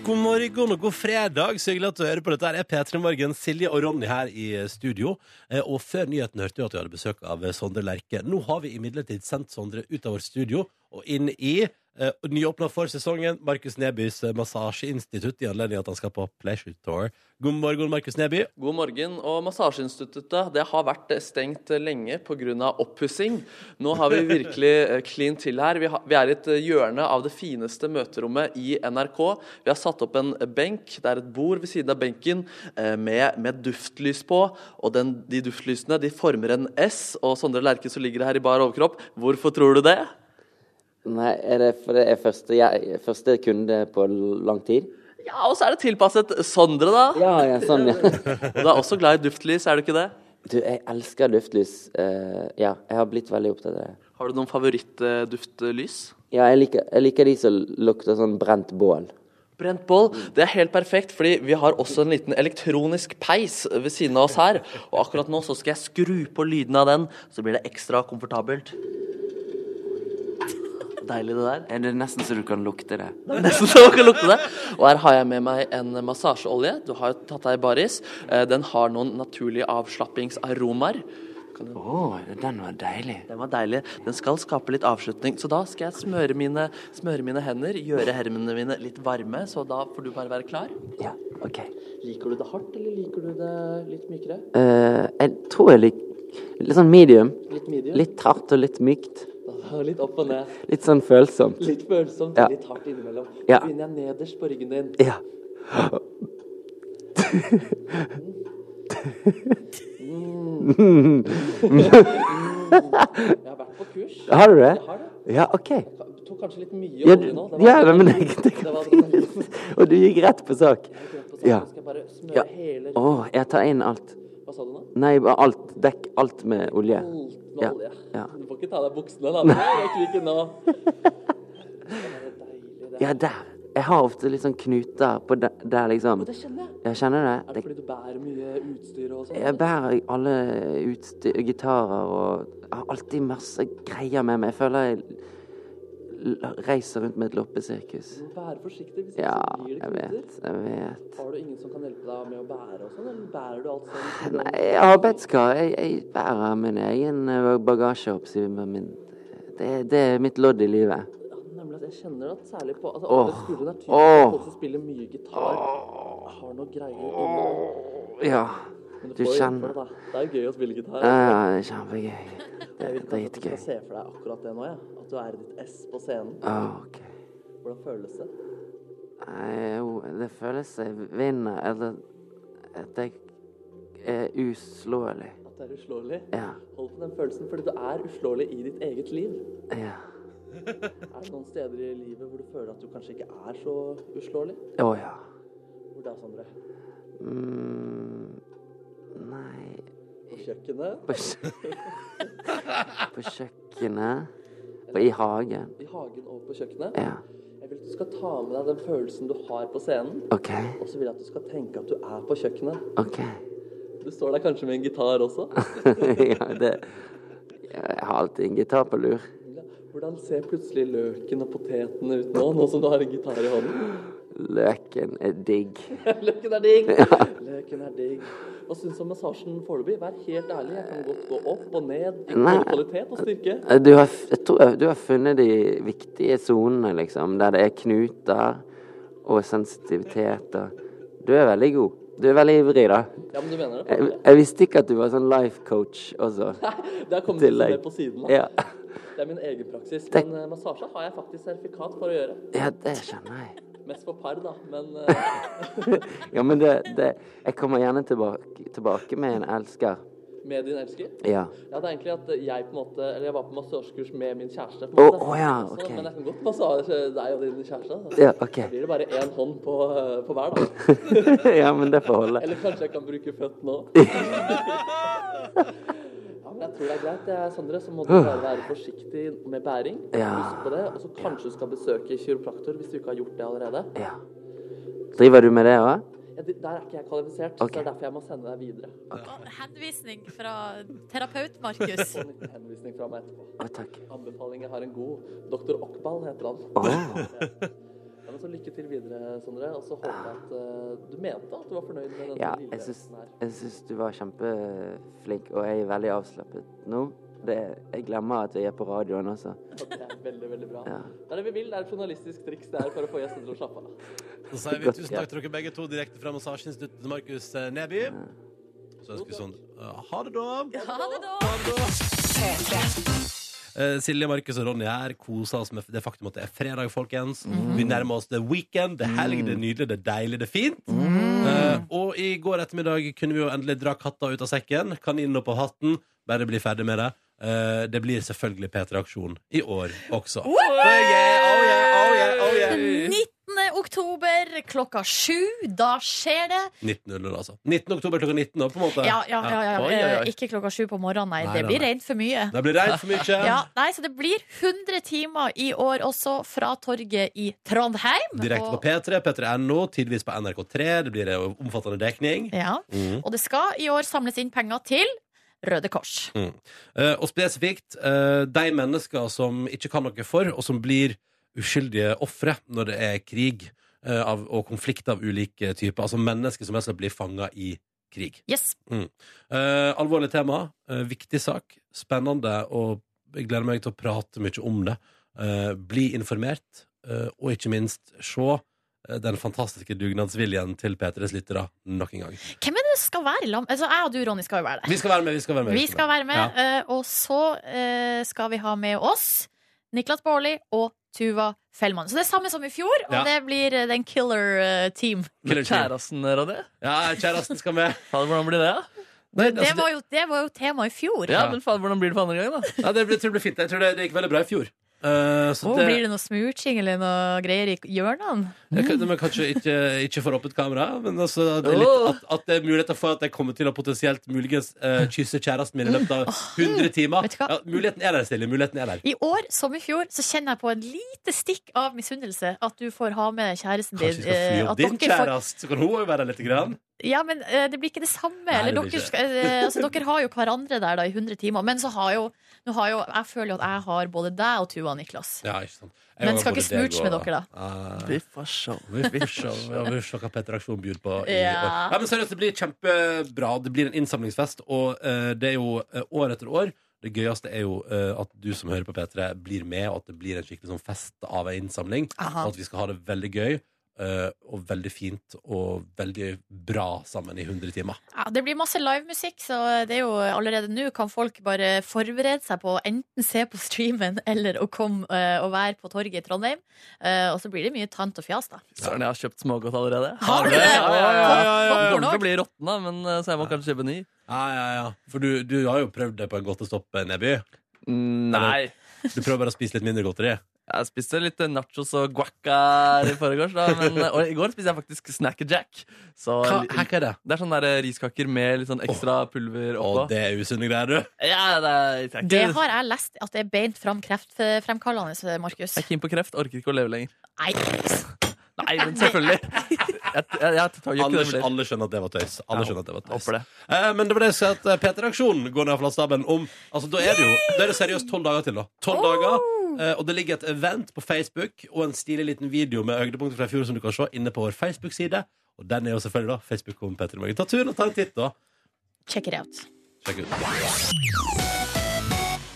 God morgen og god fredag. Så hyggelig at du hører på dette. her er P3 Morgen. Silje og Ronny her i studio. Eh, Og før nyheten hørte vi at vi hadde besøk av eh, Sondre Lerche. Nå har vi imidlertid sendt Sondre ut av vårt studio og inn i eh, nyåpna for sesongen Markus Nebys eh, massasjeinstitutt i anledning at han skal på Pleasure Tour. God morgen, Markus Neby. God morgen. og Massasjeinstituttet det har vært stengt lenge pga. oppussing. Nå har vi virkelig eh, klint til her. Vi, har, vi er i et hjørne av det fineste møterommet i NRK. Vi har satt opp en benk. Det er et bord ved siden av benken eh, med, med duftlys på. Og den, de duftlysene de former en S. Og Sondre Lerche som ligger her i bar overkropp, hvorfor tror du det? Nei, er det, for det er første, jeg, første kunde på lang tid? Ja, Og så er det tilpasset Sondre, da. Ja, ja, sånn, ja. Og du er også glad i duftlys, er du ikke det? Du, jeg elsker duftlys. Eh, ja, jeg har blitt veldig opptatt av det. Har du noen favorittduftlys? Ja, jeg liker, jeg liker de som lukter sånn brent bål. Brent bål, det er helt perfekt, fordi vi har også en liten elektronisk peis ved siden av oss her. Og akkurat nå så skal jeg skru på lyden av den, så blir det ekstra komfortabelt. deilig det der. Er det nesten så du kan lukte det? Det er Nesten så man kan lukte det. Og her har jeg med meg en massasjeolje. Du har jo tatt deg baris. Eh, Den har noen naturlige avslappingsaromaer. Kan du- Å, den var deilig. Den var deilig. Den skal skape litt avslutning. Så da skal jeg smøre mine, smøre mine hender, gjøre hermene mine litt varme, så da får du bare være klar. Ja, ok. Liker du det hardt, eller liker du det litt mykere? Eh, jeg tror jeg lik Litt sånn medium. Litt medium? Litt hardt og litt mykt. Litt opp og ned. Litt sånn følsomt. Litt følsomt, Ja. litt hardt innimellom. Ja. Så begynner jeg nederst på ryggen din. Ja. Jeg har vært på kurs. Har du det? Jeg har det. Ja, OK. Jeg tok kanskje litt mye Ja, olje du- nå. Det var- ja nei, men jeg, det Det går var- fint. Og du gikk rett på sak. Ja. Nå skal jeg bare smøre Ja. hele Å, jeg tar inn alt. Hva sa du nå? Nei, bare alt. Dekk alt med olje. Alt med Ja. olje. Ja. Du får ikke ta av deg buksene, da. Det rekker vi ikke nå. Ja, der. Jeg har ofte litt sånn knuter på der, der liksom. Det kjenner jeg. Jeg kjenner Er det. det fordi du bærer mye utstyr og sånn? Jeg bærer alle utstyr, gitarer og jeg har alltid masse greier med meg. Jeg føler jeg l- reiser rundt med et loppesirkus. Vær forsiktig, hvis ikke Ja, så blir det jeg knuter. vet. Jeg vet. Har du ingen som kan hjelpe deg med å bære og sånn, eller bærer du alt selv? Nei, jeg er arbeidskar. Jeg, jeg bærer min egen eh, bagasje opp. sier man, men Det, det er mitt lodd i livet. Ja, nemlig at jeg kjenner at særlig på altså, Åh. alle skuldrene er typisk Åh. folk som spiller mye gitar, har noe greier inni deg. Ja. Men Du får jo kjenner- hjelpe deg, da. Det er jo gøy å spille gitar. Ja, ja, det er kjempegøy. Det jeg er vil kanskje at du skal dritgøy. se for deg akkurat det nå, jeg. At du er i ditt ess på scenen. Å, ok. Hvordan føles det? Nei, jo, det føles jeg vinner, eller at jeg er uslåelig. At det er uslåelig? Ja. Hold på den følelsen, fordi du er uslåelig i ditt eget liv. ja. Er det noen steder i livet hvor du føler at du kanskje ikke er så uslåelig? Å ja. Hvor da, Sondre? Mm, nei På kjøkkenet? På, kjø på kjøkkenet. På, I hagen. I hagen og på kjøkkenet? Ja. Jeg vil at du skal ta med deg den følelsen du har på scenen, OK. og så vil jeg at du skal tenke at du er på kjøkkenet. OK. Du står der kanskje med en gitar også. ja, det Jeg har alltid en gitar på lur. Hvordan ser plutselig løken og potetene ut nå, nå som du har en gitar i hånden? Løken er digg. Løken er digg! Løken er digg. Hva syns du om massasjen foreløpig? Vær helt ærlig, jeg kan godt gå opp og ned. i Nei. både kvalitet og styrke. Eh, Du har, f- jeg tror jeg- du har funnet de viktige sonene, liksom. Der det er knuter og sensitivitet og Du er veldig god. Du er veldig ivrig, da. Ja, men du mener det? Jeg, jeg visste ikke at du var sånn life coach også. Det har kommet litt mer Tillegg. på siden. da. Ja. Det er min egen praksis. Det- Men eh, massasje har jeg faktisk sertifikat for å gjøre. ja, det skjønner jeg. Mest for par, da. Men eh, Ja, men det, det Jeg kommer gjerne tilbake, tilbake med en elsker. med din elsker. Ja. Ja, det er egentlig at jeg på en måte Eller jeg var på massasjekurs med min kjæreste. på en Å måte. å ja, Så- OK. Men jeg kan godt altså, massasje deg og din kjæreste. Da Ja, ok. Da blir det bare én hånd på, eh, på hver, da. ja, men det får holde. Eller kanskje jeg kan bruke føttene òg. ja, men jeg tror det er greit, eh, Sondre. Så må du bare være forsiktig med bæring. Ja. Husk på det. Og så kanskje du skal besøke kiropraktor hvis du ikke har gjort det allerede. Ja. Driver du med det òg? Ja, det- der er ikke jeg kvalifisert, så Ok. det er derfor jeg må sende deg videre. Henvisning fra terapeut Markus. Og en liten henvisning fra meg etterpå. Å, takk. Anbefaling jeg har en god doktor Okbal, heter han. Å. Ja, men så lykke til videre, Sondre. Og så håper jeg at eh, du mente at du var fornøyd med denne Ja, lille jeg syns, reisen her. jeg syns du var kjempeflink, og jeg er veldig avslappet nå. Det, jeg glemmer at vi er på radioen også. Og Det er veldig, veldig bra. Ja. Det er det vi vil. Det er et journalistisk triks det er for å få gjestene til å slappe av. Så sier vi tusen takk til dere begge to direkte fra Massasjeinstituttet til Markus eh, Neby. Så ønsker vi sånn eh, Ha det, da. Ha det, da! Eh, Silje, Markus og Ronny her koser oss med det faktum at det er fredag, folkens. Mm. Vi nærmer oss det er weekend. Det er helg, det er nydelig, det er deilig, det er fint. Mm. Eh, og i går ettermiddag kunne vi jo endelig dra katta ut av sekken. Kaninen opp av hatten. Bare bli ferdig med det. Eh, det blir selvfølgelig P3 Aksjon i år også. Oh yeah, oh yeah, oh yeah, oh yeah. 19. oktober klokka sju. Da skjer det. 19.00, altså. 19. oktober klokka 19, da, på en måte. Ja, ja, ja, ja. Oi, oi, Eh, oi. Ikke klokka sju på morgenen, nei. Nei, Det nei, blir nei. rent for mye. Det blir reint for mye. Ja, nei, så det blir 100 timer i år også fra torget i Trondheim. Direkte på Og- P3, P3.no, tidvis på NRK3. Det blir en omfattende dekning. Ja. Mhm. Og det skal i år samles inn penger til Røde Kors. Eh, og spesifikt eh, de mennesker som ikke kan noe for, og som blir uskyldige ofre når det er krig eh, av, og konflikt av ulike typer. Altså mennesker som helst blir fanga i krig. Yes. Eh, alvorlig tema, eh, viktig sak, spennende, og jeg gleder meg til å prate mye om det. Eh, bli informert, eh, og ikke minst se eh, den fantastiske dugnadsviljen til P3s lyttere nok en gang. Hvem er det som skal være i lag? Altså, jeg og du, Ronny, skal jo være der. Vi skal være med! Vi skal være med, Vi skal være med, Ja. eh, og så eh, skal vi ha med oss Niklas Baarli og Tuva Fellmann. Så det er samme som i fjor, og Ja. det blir eh, den killer eh, team. Killer team. Kjæresten Ronny? Ja, kjæresten skal med. Fader, hvordan blir det? da? Nei, altså, Det var jo, det var jo tema i fjor. Ja, men fader, hvordan blir det for andre gang, da? Ja, det ble, jeg tror det ble fint. Jeg tror det, det gikk veldig bra i fjor. Eh, så Og det, blir det noe smooching eller noe greier i hjørnene? jeg, Mm. kan- men kanskje ikke, ikke for åpent kamera, men altså, det er litt, at, at det er muligheter for at jeg kommer til å potensielt muligens eh, kysse kjæresten min i løpet av 100 timer. Mm. Vet du hva? Ja, muligheten er der, Silje. Muligheten er der. I år, som i fjor, så kjenner jeg på en lite stikk av misunnelse at du får ha med kjæresten Kanskje vi din. skal fly eh, opp at din dere får- kjæreste, så kan hun jo være der litt. Grann. Ja, men eh, det blir ikke det samme. Nei, det eller blir dere, ikke skal, eh, altså, dere har jo hverandre der da, i 100 timer. Men så har jo, nå har jo Jeg føler jo at jeg har både deg og Tuva, Niklas. Ja, ikke sant. Men skal ikke smooche med dere, da? da? Vi får se. Vi får se ja, vi får se hva Petter Aksjon byr på. I Ja. år. Nei, men seriøst, Det blir kjempebra. Det blir en innsamlingsfest, og eh, det er jo eh, år etter år. Det gøyeste er jo eh, at du som hører på P3, blir med, og at det blir en skikkelig sånn fest av en innsamling. Aha. Og at vi skal ha det veldig gøy. eh, og veldig fint og veldig bra sammen i 100 timer. Ja, det blir masse livemusikk, så det er jo allerede nå kan folk bare forberede seg på å enten se på streamen eller å komme eh, og være på torget i Trondheim. Eh, og så blir det mye tant og fjas, da. Søren, jeg har kjøpt smågodt allerede. Har du det? Ja, ja, ja, ja, ja. Popcorn Kommer til også? å bli råtna, men eh, så jeg må kanskje kjøpe ny. Ja, ja, ja. For du, du har jo prøvd det på en godtestopp, eh, Neby. Nei. Du prøver bare å spise litt mindre godteri. Jeg spiste litt nachos og guacca i forgårs, da, men og i går spiste jeg faktisk Snackerjack. Så Hva, hæ, hva er det? det er sånne der eh, riskaker med litt sånn ekstra pulver Å, oppå. det er usunne greier, du. Ja, det er det er ikke Det har jeg lest at det er beint fram kreftfremkallende, Markus. Jeg er keen på kreft, orker ikke å leve lenger. Nei, Nei, men selvfølgelig. Jeg, jeg, jeg tar jo ikke Alle, det flere. alle skjønner at det var tøys. Alle Ja, skjønner at det var tøys. Håper det. Eh, men det var det jeg sa at eh, P3-aksjonen går ned fra staben om Altså, da er det jo Da er det seriøst tolv dager til, da. 12 dager. eh, og det ligger et event på Facebook og en stilig liten video med høydepunkter fra i fjor som du kan se inne på vår Facebook-side. Og den er jo selvfølgelig da Facebook om P3 Morgen. Ta turen og ta en titt, da. check it out. Sjekk ut.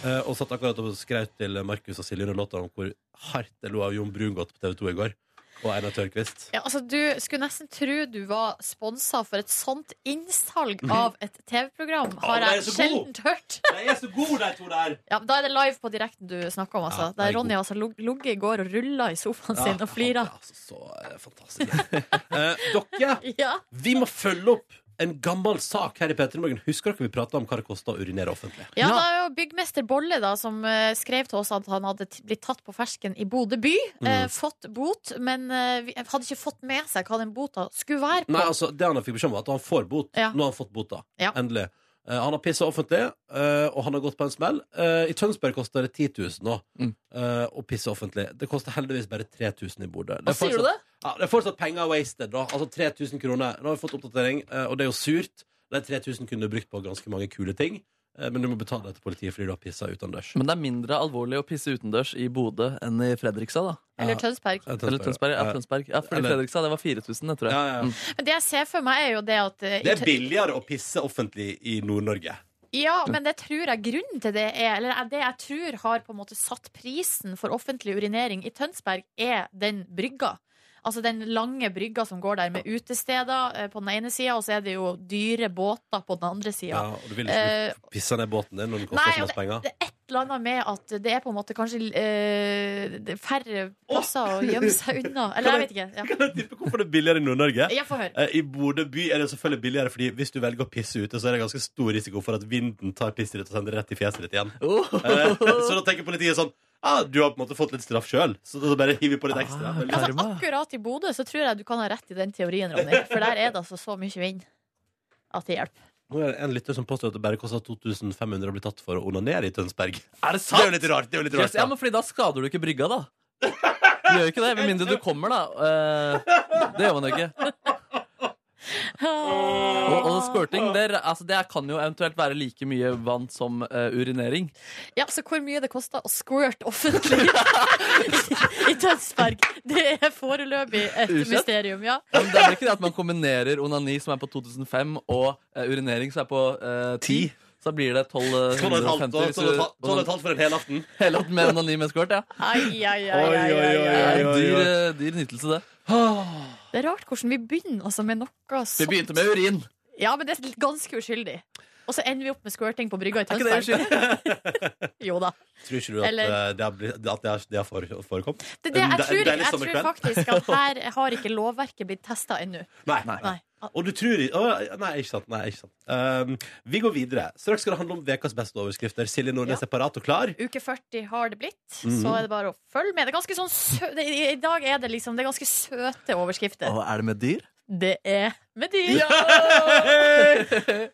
Eh, og satt akkurat og skraut til Markus og Silje under låta om hvor hardt jeg lo av Jon Brungot på TV 2 i går. Og Einar Tørnquist. Ja, altså, du skulle nesten tro du var sponsa for et sånt innsalg av et TV-program. Har Mhm. men det er jeg så god! sjelden hørt. De er så gode, de to der! Ja, men da er det live på direkten du snakker om. Ja, Altså. det er Der god. Ronny altså log- ligget i går og rulla i sofaen sin og flira. Ja, altså, så eh, fantastisk. Eh, dere, Ja. vi må følge opp en gammel sak her i P3 Morgen. Husker dere vi prata om hva det kosta å urinere offentlig? ja, det er jo byggmester Bolle da, som eh, skrev til oss at han hadde t- blitt tatt på fersken i Bodø by. eh, Mm. fått bot, men eh, vi hadde ikke fått med seg hva den bota skulle være på. Nei, altså, det han fikk beskjed om, var at han får bot. Ja. Nå har han fått bota. Ja. Endelig. Eh, han har pissa offentlig, eh, og han har gått på en smell. Eh, I Tønsberg koster det 10 000 nå Mm. eh, å pisse offentlig. Det koster heldigvis bare 3000 i Bodø. Det er Hva sier du fortsatt- det? Ja, det er fortsatt penger wasted, da. Altså 3000 kroner. Nå har vi fått oppdatering, eh, og det er jo surt. De 3000 kunne du brukt på ganske mange kule ting, eh, men du må betale det til politiet fordi du har pissa utendørs. Men det er mindre alvorlig å pisse utendørs i Bodø enn i Fredrikstad, da. Eller Tønsberg. Eh, Eller Tønsberg. Ja, Eh, Tønsberg. ja fordi Eller- Fredrikstad, det var 4000, det tror jeg. ja, ja. Men det jeg ser for meg, er jo det at eh, i Det er Tø- billigere å pisse offentlig i Nord-Norge. Ja, men det tror jeg grunnen til det er Eller det jeg tror har på en måte satt prisen for offentlig urinering i Tønsberg, er den brygga. Altså den lange brygga som går der med utesteder eh, på den ene sida, og så er det jo dyre båter på den andre Ja, sida. og du vil Eh, ikke pisse ned båten din når den koster nei, så og masse penger. Det er et eller annet med at det er på en måte kanskje eh, det er færre plasser å gjemme seg unna. Eller jeg vet ikke. Kan jeg tippe hvorfor det er billigere i Nord-Norge? Ja, ja få høre. Eh, I Bodø by er det selvfølgelig billigere, fordi hvis du velger å pisse ute, så er det ganske stor risiko for at vinden tar pisset ditt og sender det rett i fjeset ditt igjen. Eh, Så da tenker politiet sånn ah, Du har på en måte fått litt straff sjøl, så da bare hiver vi på litt ekstra. Ah, Veldig- Altså, Karma. akkurat i Bodø så tror jeg du kan ha rett i den teorien, Ronny. For der er det altså så mye vind at det hjelper. Nå er det en lytter som påstår at det bare koster 2500 å bli tatt for å onanere i Tønsberg. Det er jo Er det sant? litt rart. det er jo litt Yes, rart da. ja, men fordi da skader du ikke brygga, da. Du gjør jo ikke det, med mindre du kommer, da. Eh, det gjør man jo ikke. Og, og spurting, det, er- altså, det kan jo eventuelt være like mye vann som eh, urinering. Ja, så hvor mye det koster å squirt offentlig i Tønsberg? Det er foreløpig et Usett. mysterium, ja. Ja, Men det er vel ikke det at man kombinerer onani, som er på 2005, og eh, urinering, som er på eh, 10. Så da blir det eh, Sånn 1250 hvis du onan- for en hel aften. hele opp med onani med skvørt. Ja. Ai, ai, ai, Oi, ai, oi, ai, oi, Det ai. er en oi, dyr, oi. eh, dyr nytelse, det. Det er rart hvordan vi begynner altså, med noe Vi sånt. begynte med urin. Ja, men det er ganske uskyldig. Og så ender vi opp med squirting på brygga i Er ikke det Tønsberg. uskyldig? Jo da. Tror ikke du at Eller- eh, det har, blitt- at det har, det har fore- forekommet? Det, er det, En jeg, de- tror, deilig jeg tror sommerkveld. faktisk at her har ikke lovverket blitt testa ennå. Nei. Nei. Og du tror ikke Å, Nei, ikke sant. Nei, ikke sant. Um, vi går videre. Straks skal det handle om ukas beste overskrifter. Silje Nordnes er parat og klar. Uke 40 har det blitt, Mhm. så er det bare å følge med. Det er ganske sånn sø det, I i dag er det liksom Det er ganske søte overskrifter. Og er det med dyr? Det er med dyr,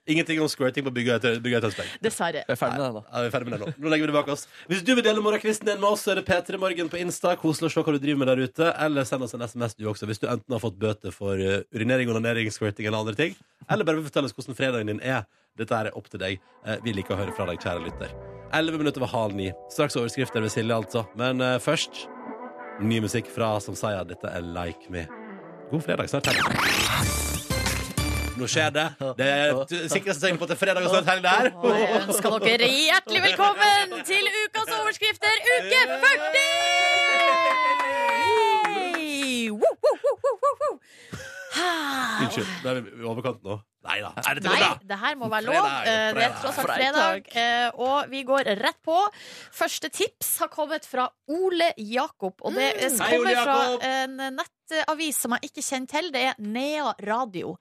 Ingenting om squirting på Bygga i Tø- Bygga i Tønsberg. dessverre. Vi er ferdig med det, da. Ja, vi er ferdig med det nå. Nå legger vi det bak oss. Hvis du vil dele morgenkvisten din med oss, så er det P3 Morgen på Insta. Koselig å se hva du driver med der ute. Eller send oss en SMS du også, hvis du enten har fått bøter for eh, urinering, onanering, squirting eller andre ting. Eller bare vil fortelle oss hvordan fredagen din er. Dette er opp til deg. Eh, Vi liker å høre fra deg, kjære lytter. 11 minutter over halv ni. Straks overskrifter ved Silje, altså. Men eh, først ny musikk fra Samsaya. Dette er Like Me. God fredag. Snart helg. Nå skjer det. Det er t- sikreste tegn på at det er fredag og snart helg det Og er. jeg ønsker dere hjertelig velkommen til ukas overskrifter, uke 40! Woo, woo, woo, woo, woo, woo. Ha. Unnskyld, det er vi i overkant nå. Nei da. Er dette Nei, bra? det her må være lov. Fredag, Eh, Det er fredag. tross alt fredag. Eh, Og vi går rett på. Første tips har kommet fra Ole Jakob. Og det eh, Mm. Hei, Ole kommer fra Jakob! en nettavis som jeg ikke kjenner til. Det er Nea Radio.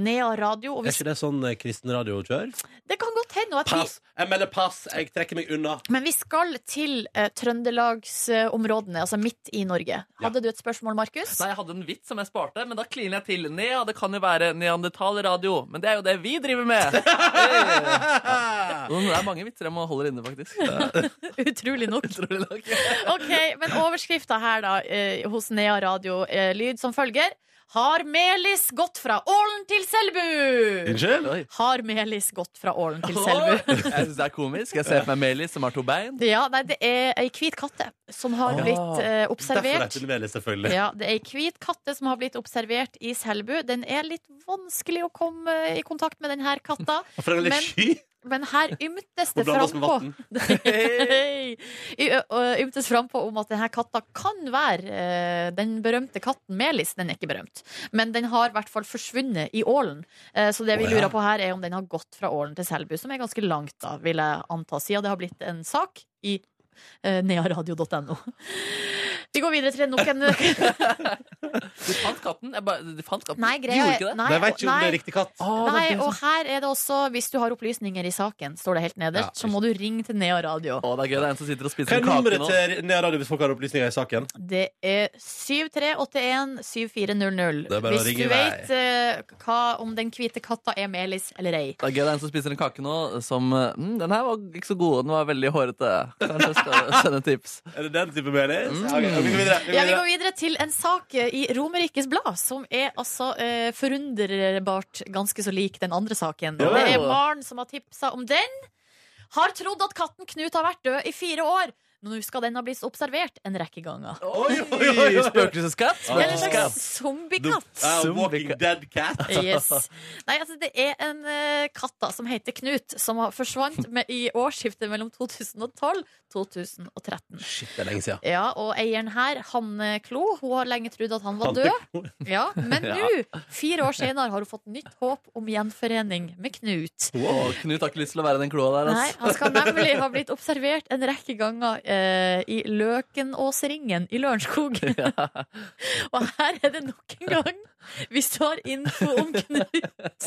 Nea Radio. Og Er hvis, ikke det sånn eh, kristen radio kjør? det kan godt hende. og at vi- Pass! Jeg melder pass! Jeg trekker meg unna. Men vi skal til eh, trøndelagsområdene, altså midt i Norge. Hadde du et spørsmål, Markus? Nei, Jeg hadde en vits som jeg sparte, men da kliner jeg til. Nea, det kan jo være neandertalradio, men det er jo det vi driver med. Ah. Det er mange vitser jeg må holde inne, faktisk. Utrolig nok. Utrolig nok. Ok, Men overskrifta her, da, eh, hos Nea Radio eh, lyd som følger. Har Melis gått fra Ålen til Selbu? Unnskyld? Oi. Har Melis gått fra Ålen til Åh, Selbu? Jeg synes det er komisk. Jeg ser for meg Melis som har to bein. Ja, nei, det er ei hvit katte som har Ah. blitt eh, Derfor er observert. det Melis, selvfølgelig. Ja, det er ei hvit katte som har blitt observert i Selbu. Den er litt vanskelig å komme i kontakt med, den her katta. For den er litt Men- sky Men her ymtes det og blander oss med frampå. vann. Hei. I- ø- ø- Ymtes frampå om at denne katta kan være eh, den berømte katten Melis. Den er ikke berømt, men den har i hvert fall forsvunnet i ålen. Eh, Så det Å, vi ja. lurer på her, er om den har gått fra ålen til Selbu, som er ganske langt, da, vil jeg anta, siden det har blitt en sak i eh, nearadio.no. Vi går videre til nok en Du fant katten? Jeg bare, du fant katten? Nei, Du greia gjorde er- ikke det? nei, Jeg vet ikke om det nei. er riktig katt. Åh, det er Nei, det og som- her er det også Hvis du har opplysninger i saken, står det helt nederst, Ja, så må du ringe til Nea Radio. Åh, det er gøy. Det er en som sitter og Hva spiser er kake nummeret nå. til Nea Radio hvis folk har opplysninger i saken? Det er 7381-7400. Det er bare å Hvis ringe du i vei. vet eh, hva, om den hvite katta er Melis eller ei. Det er gøy, det er en som spiser en kake nå som mm, Den her var ikke så god, den var veldig hårete. Kanskje jeg skal sende tips. Er det den type Melis? Ja, ok, vi går videre. Vi går Ja, Vi videre. går videre til en sak eh, i Romerikes Blad som er altså eh, forunderbart ganske så lik den andre saken. Ja. Det er Maren som har tipsa om den. Har trodd at katten Knut har vært død i fire år. Nå skal den ha blitt observert en rekke ganger. Oi, oi, oi, oi. Spøkelseskatt? Det er en slags Spøkelseskatt. zombiekatt. Ah, walking dead cat. Yes. Nei, altså det er en eh, katt da, som heter Knut, som har forsvant med, i årsskiftet mellom 2012-2013. Shit, det er lenge siden. Ja, og eieren her, Hanne Klo, hun har lenge trodd at han var Tante død. Ja, men Ja. nå, fire år senere, har hun fått nytt håp om gjenforening med Knut. Wow, Knut har ikke lyst til å være i den kloa der. Nei, ass. han skal nemlig ha blitt observert en rekke ganger eh, i Løkenåsringen i Lørenskog. Og her er det nok en gang. Hvis du har info om Knut,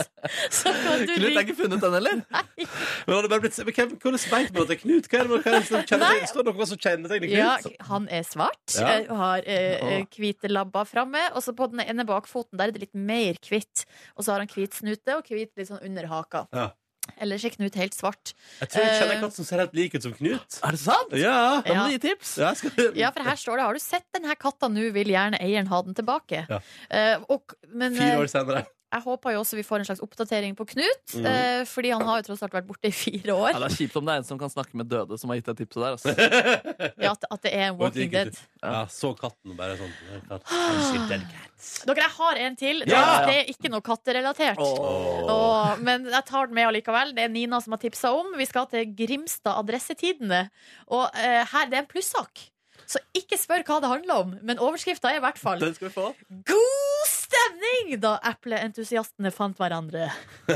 så kan du Knut er ringe ikke funnet den heller? Men har det bare blitt men hvem, Hvordan vet man at det er Knut? Hva er det, hva er det som Nei. kjennetegner Står det noe som kjennetegner Knut? Ja, han er svart Ja. eh, og har eh, Åh. hvite labber framme. Og så på den ene bakfoten der er det litt mer hvitt. Og så har han hvit snute og hvit litt sånn under haka. Ja. Ellers er Knut helt svart. Jeg tror jeg kjenner Eh. en katt som ser helt lik ut som Knut. Er det sant? Ja, Da må Ja. du gi tips. ja skal du Ja, for her står det 'Har du sett den her katta nå? Vil gjerne eieren ha den tilbake'. Ja. Eh, og, men, Fire år senere. Jeg håper jo også vi får en slags oppdatering på Knut, Mhm. eh, fordi han har jo tross alt vært borte i fire år. Ja, det er kjipt om det er en som kan snakke med døde, som har gitt deg tipset der. Altså. Ja, at, at det er en Walking Dead. Ja, så katten og bare sånn. ja, katt. Unnskyld, den katt. Dere, jeg har en til. Det, Ja! det er ikke noe katterelatert. Åh, men jeg tar den med allikevel. Det er Nina som har tipsa om. Vi skal til Grimstad Adressetidene. Og eh, her, det er en plussak. Så ikke spør hva det handler om, men overskrifta er i hvert fall Den skal vi få. God stemning da Apple-entusiastene fant hverandre.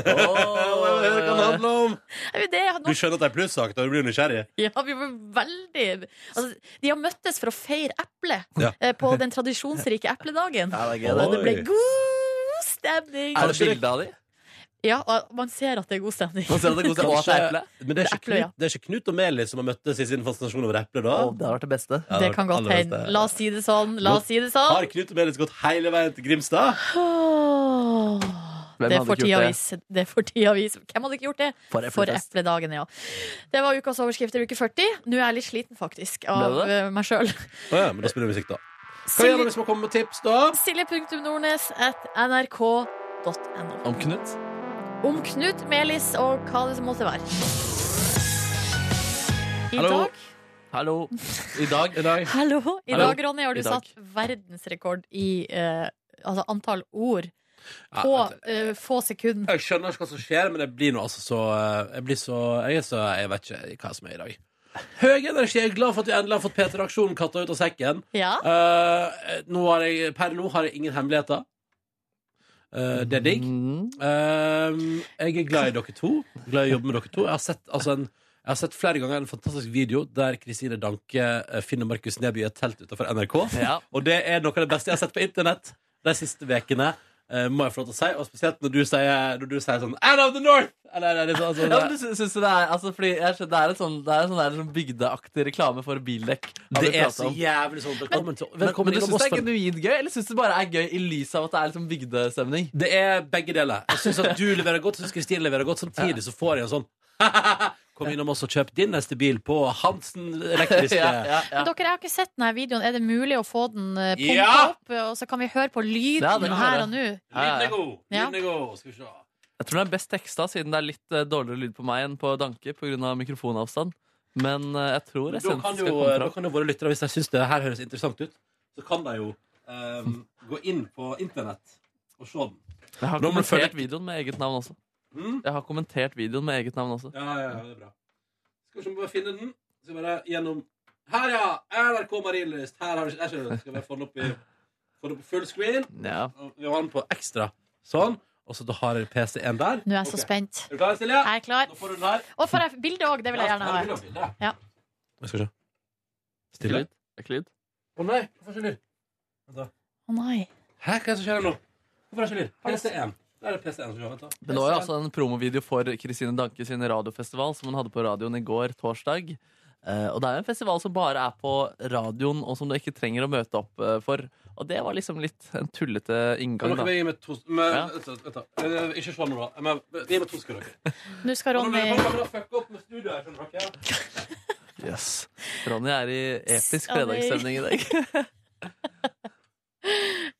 Åh, jeg vet hva den handler om. Er vi Det, Du skjønner at det er plussak da du blir nysgjerrig? Ja, vi var veldig altså, De har møttes for å feire eplet Ja. eh, på den tradisjonsrike epledagen. Ja, det er gøy, Og det. det ble god stemning! Er det bilde av de? Ja, og man ser at det er god stemning. Man ser at det koser seg åt eple. Men det er, ikke Eple, ja. Knut, det er ikke Knut og Meli som har møttes i sin fascinasjon over eple, da? Åh, det har vært det beste. Ja, Det var kan godt aller beste. hende. La oss si det sånn. La oss si det Har sånn. Knut og Melis gått hele veien til Grimstad? Åh, Hvem Det hadde får ikke tida gjort det? vise. Det får tida vise. Hvem hadde ikke gjort det? For For eplefest. epledagen, ja. Det var ukas overskrifter uke 40. Nå er jeg litt sliten, faktisk, av Ble du det? eh, meg sjøl. Å ja, men da spiller vi musikk, da. Hva gjør man hvis man kommer med tips, da? Silje.nordnes at nrk.no. Om Knut? Om Knut Melis og hva det måtte være. I Hallo. dag Hallo. I dag? I dag. Hallo. I Hallo. dag, Ronny, har I du dag. satt verdensrekord i eh, altså antall ord Ja, på vent litt. eh, få sekunder. jeg skjønner ikke hva som skjer, men jeg blir nå altså så eh, Jeg blir så Jeg, er så, jeg vet ikke hva som er i dag. Høy energi. Jeg er glad for at vi endelig har fått Peter Aksjon katta ut av sekken. Ja. Eh, nå har jeg, per nå har jeg ingen hemmeligheter. Eh, det er digg. Mm. Ehm, jeg er glad i dere to. Glad i å jobbe med dere to. Jeg har sett, altså en, jeg har sett flere ganger en fantastisk video der Kristine Danke eh, finner Markus Neby i et telt utenfor NRK. Ja. Og det er noe av det beste jeg har sett på internett de siste vekene eh, må jeg få lov til å si. Og spesielt når du sier, når du sier sånn Out of the North! Eller, eller, liksom, altså, Ja, men du sy- syns du det er altså, fordi jeg skjønner, Det er en sånn, det er en sånn, der sånn bygdeaktig reklame for bildekk. har det vi er pratet så om. jævlig sånn. Velkommen til Men, velkommen men du innom syns det oss er for- genuint gøy, eller syns du bare er gøy i lys av at det er liksom bygdestemning? Det er begge deler. Jeg syns at du leverer godt, syns Kristine leverer godt. Samtidig så får jeg en sånn Kom innom oss og kjøp din neste bil på Hansen elektriske. ja, ja, ja. Men dere, jeg har ikke sett denne videoen. Er det mulig å få den eh, pumpa Ja! opp, og så kan vi høre på lyden Ja, det kan vi her gjøre. og nå? Ja, Lyden ja. er god. Ja. Lyden er god. Skal vi se. Jeg tror den er best teksta, siden det er litt eh, dårligere lyd på meg enn på Danke pga. mikrofonavstand. Men eh, jeg tror Da kan, essensen skal jo, eh, komme da fram. kan jo våre lyttere, hvis de syns det her høres interessant ut, så kan de jo ehm, gå inn på internett og se den. Jeg har Nå må du følge- kommentert videoen med eget navn også. Mm? Jeg har kommentert videoen med eget navn også. Ja, ja, ja, det er bra. Skal vi se om vi bare finner den. Skal vi bare gjennom Her, ja! NRK Marienlyst. Her har vi Jeg skjønner. Skal vi bare få den opp i, få den opp i full screen? Ja. Og Vi har den på ekstra. Sånn. Og så da har jeg PC1 der. Nå er jeg så Ok. spent. Er du klar, Silje? Jeg er klar. Nå får du den her. Og får jeg bilde òg? Det vil jeg Ja, gjerne ha. her blir det bilde. Ja. Jeg skal se. Ikke Stille. lyd. Ikke lyd. Å nei, hvorfor ikke lyd? Å nei. Hæ, hva er det som skjer her nå? Hvorfor er det ikke lyd? PC1. Der er det PC1 som skjer, vent da. Men det var jo altså en promovideo for Kristine Danke sin radiofestival som hun hadde på radioen i går, torsdag. Eh, og det er jo en festival som bare er på radioen, og som du ikke trenger å møte opp eh, for. Og det var liksom litt en tullete inngang, Nå da. kan vi gi meg to men, Ja. vent da, vent da. Eh, Ikke se nå, da. Men, eh, gi meg to sekunder. dere. Nå skal Nå Ronny blir det bare å fucke opp med studioet her, skjønner dere. Yes. Ronny er i episk Ja, det- fredagsstemning i dag.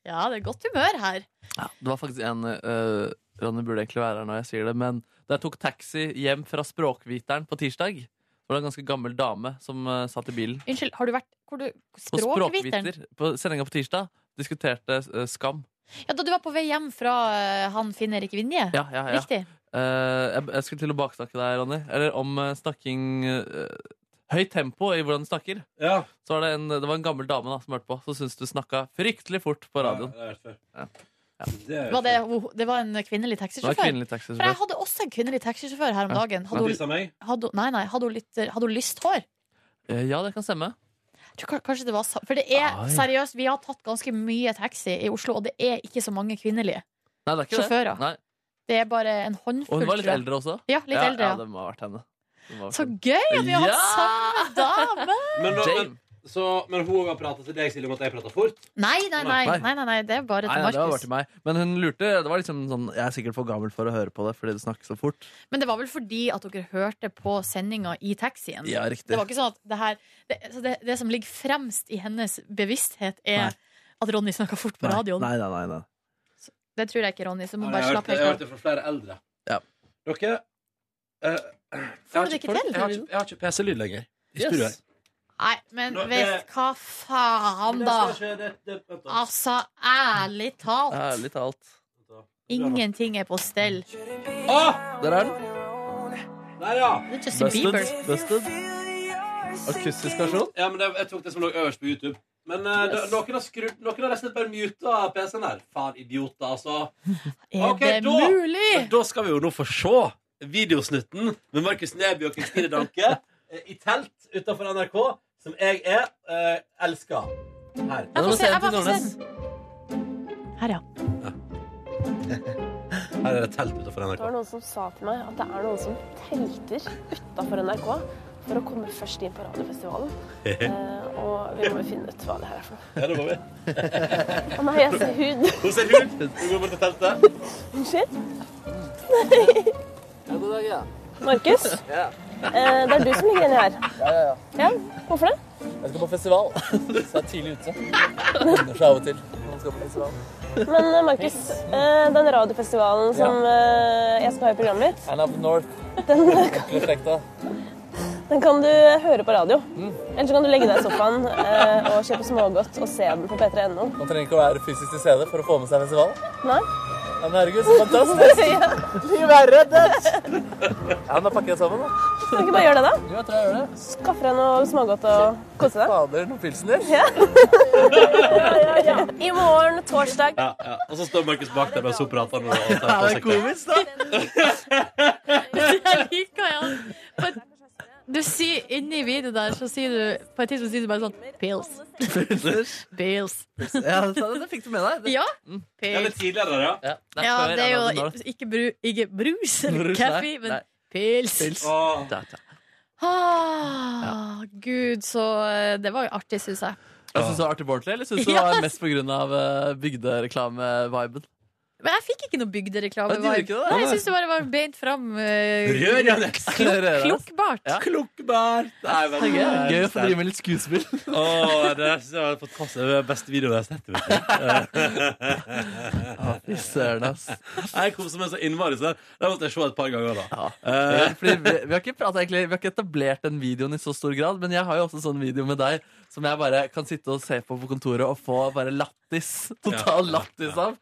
Ja, det er godt humør her. Ja, det var faktisk en eh, Ronny burde egentlig være her når jeg sier det, men da jeg tok taxi hjem fra Språkviteren på tirsdag, var det en ganske gammel dame som eh, satt i bilen. Unnskyld, har du vært hvor du, På Språkviteren? Språkviter, på sendinga på tirsdag, diskuterte eh, Skam. Ja, da du var på vei hjem fra eh, han Finn-Erik Vinje? Ja, ja, ja. Riktig. Eh, jeg, jeg skulle til å baksnakke deg, Ronny. Eller om eh, snakking eh, Høyt tempo i hvordan du snakker. Ja. Så var det, en, det var en gammel dame da, som hørte på, som syntes du snakka fryktelig fort på radioen. Ja, det Ja. er det før. Var det, det var en kvinnelig Det var taxisjåfør? kvinnelig For jeg taxisjåfør. hadde også en kvinnelig taxisjåfør her om Ja. dagen. Hun Hadde hun, tisset meg. hadde, hun- nei, nei, hadde hun, litt, hadde hun lyst hår? Eh, Ja, det kan stemme. Jeg tror ka- kanskje det var sa- For det er Ai. seriøst, vi har tatt ganske mye taxi i Oslo, og det er ikke så mange kvinnelige. Nei, det er ikke Sjåfører. det. Nei. Det er bare en Og håndfull. hun var litt tror jeg. eldre også. Ja, litt ja, eldre, ja, ja. det må ha vært henne. Det må ha vært Så henne. gøy at vi har hatt Ja! samme dame! Men, da- men, Jane. så, men hun har pratet til deg, Silje, om at jeg prater fort. Nei, nei, nei. Nei. nei, nei, nei det er bare Nei, til nei, det var bare Markus. til meg. Men hun lurte. Det var liksom sånn Jeg er sikkert for gammel for å høre på det fordi du snakker så fort. Men det var vel fordi at dere hørte på sendinga i taxien? Ja, riktig. Det var ikke sånn at det her Det, så det, det som ligger fremst i hennes bevissthet, er Nei. at Ronny snakker fort på Nei, radioen. Nei, nei, nei, nei. Det tror jeg ikke, Ronny, så må Jeg bare har hørt slappe det- jeg helt har hørt av. det fra flere eldre. Ja. Dere eh, jeg, har du det ikke, ikke til? jeg, har ikke, jeg har ikke PC-lyd lenger. I Yes. studio her. Nei, men Nå, det- vet hva faen, da? Det skal ikke- det- det- vent da. Altså, ærlig talt. Ærlig talt. Ingenting er på stell. Det Å! Der er den. Der, ja! er Justin Busted. Bieber. Busted. Akustisk versjon. Ja, men det, jeg tok det som lå øverst på YouTube. Men eh, Yes. da- noen har skrudd Noen har nesten bare muta PC-en her. Faen, idioter, altså. Er Ok, det da- mulig? Men da skal vi jo nå få se videosnutten med Markus Neby og Kristine Danke eh, i telt utenfor NRK, som jeg er eh, elsker. Her. Jeg får se, jeg den får til se. Nordnes. Her, ja. Her er det telt utenfor NRK. Det var noen som sa til meg at det er noen som telter utafor NRK for å komme først inn på Radiofestivalen. Eh, og vi må jo finne ut hva det her er for noe. Ja, da går vi. Å nei, jeg ser hud. Hun ser ut! Hun går bort til teltet. Unnskyld. Markus, eh, det er du som ligger inni her. Ja, ja, ja. Hvorfor det? Jeg skal på festival, så jeg er tidlig ute. Lønner seg av og til. når man skal på festival. Men eh, Markus, eh, den radiofestivalen som eh, jeg skal ha i programmet mitt, And up north. Den slekta. den kan du høre på radio. Eller så kan du legge deg i sofaen eh, og kjøpe smågodt og se den på p3.no. Man trenger ikke å være fysisk til stede for å få med seg festival. Nei? Ja, Men herregud, så fantastisk! Ja. Livet er redd! Ja, men da pakker jeg sammen, da. Kan du ikke bare gjøre det, da? Jo, jeg tror jeg gjør det. Skaffe deg noe smågodt og kose deg. Fader, noen pilsner. I morgen, torsdag Ja, ja. Og så står Markus bak der mens hun prater nå. Og tar på seg klær. komisk, da. Jeg liker ja. På et- Du sier inni videoen der, så sier du på et tidspunkt sier du bare sånn Pills. Pills. Ja, så det fikk du med deg. Ja. Ja, litt Pills. tidligere, ja. Ja, der Ja, skal jeg det er gjerne ha jo den nå. ikke, bru, ikke brus eller Brus, kaffe, nei, men nei. pils. Pils. Åh. Da, da. Ah, Gud, så eh, Det var jo artig, syns jeg. Jeg synes det var artig på ordentlig, eller synes du det var mest på grunn av eh, bygdereklame-viben? Men jeg fikk ikke noe bygdereklame. Ja, du gjorde vibe. ikke det? Nei, jeg syns det bare var beint fram. eh, Rør, Janeks. Klukkbart. Ja. Klukkbær. Nei, men- Det er gøy, gøy å få drive med litt skuespill. Åh, det er så fantastisk. Det er den beste videoen jeg har sett. vet du. Fy søren, ass. Jeg koser meg så innmari. Så det måtte jeg se et par ganger. da Ja. Eh, Eh, Fordi vi, vi, har ikke pratet, egentlig, vi har ikke etablert den videoen i så stor grad, men jeg har jo også sånn video med deg som jeg bare kan sitte og se på på kontoret og få bare lattis. Total Ja. lattis av.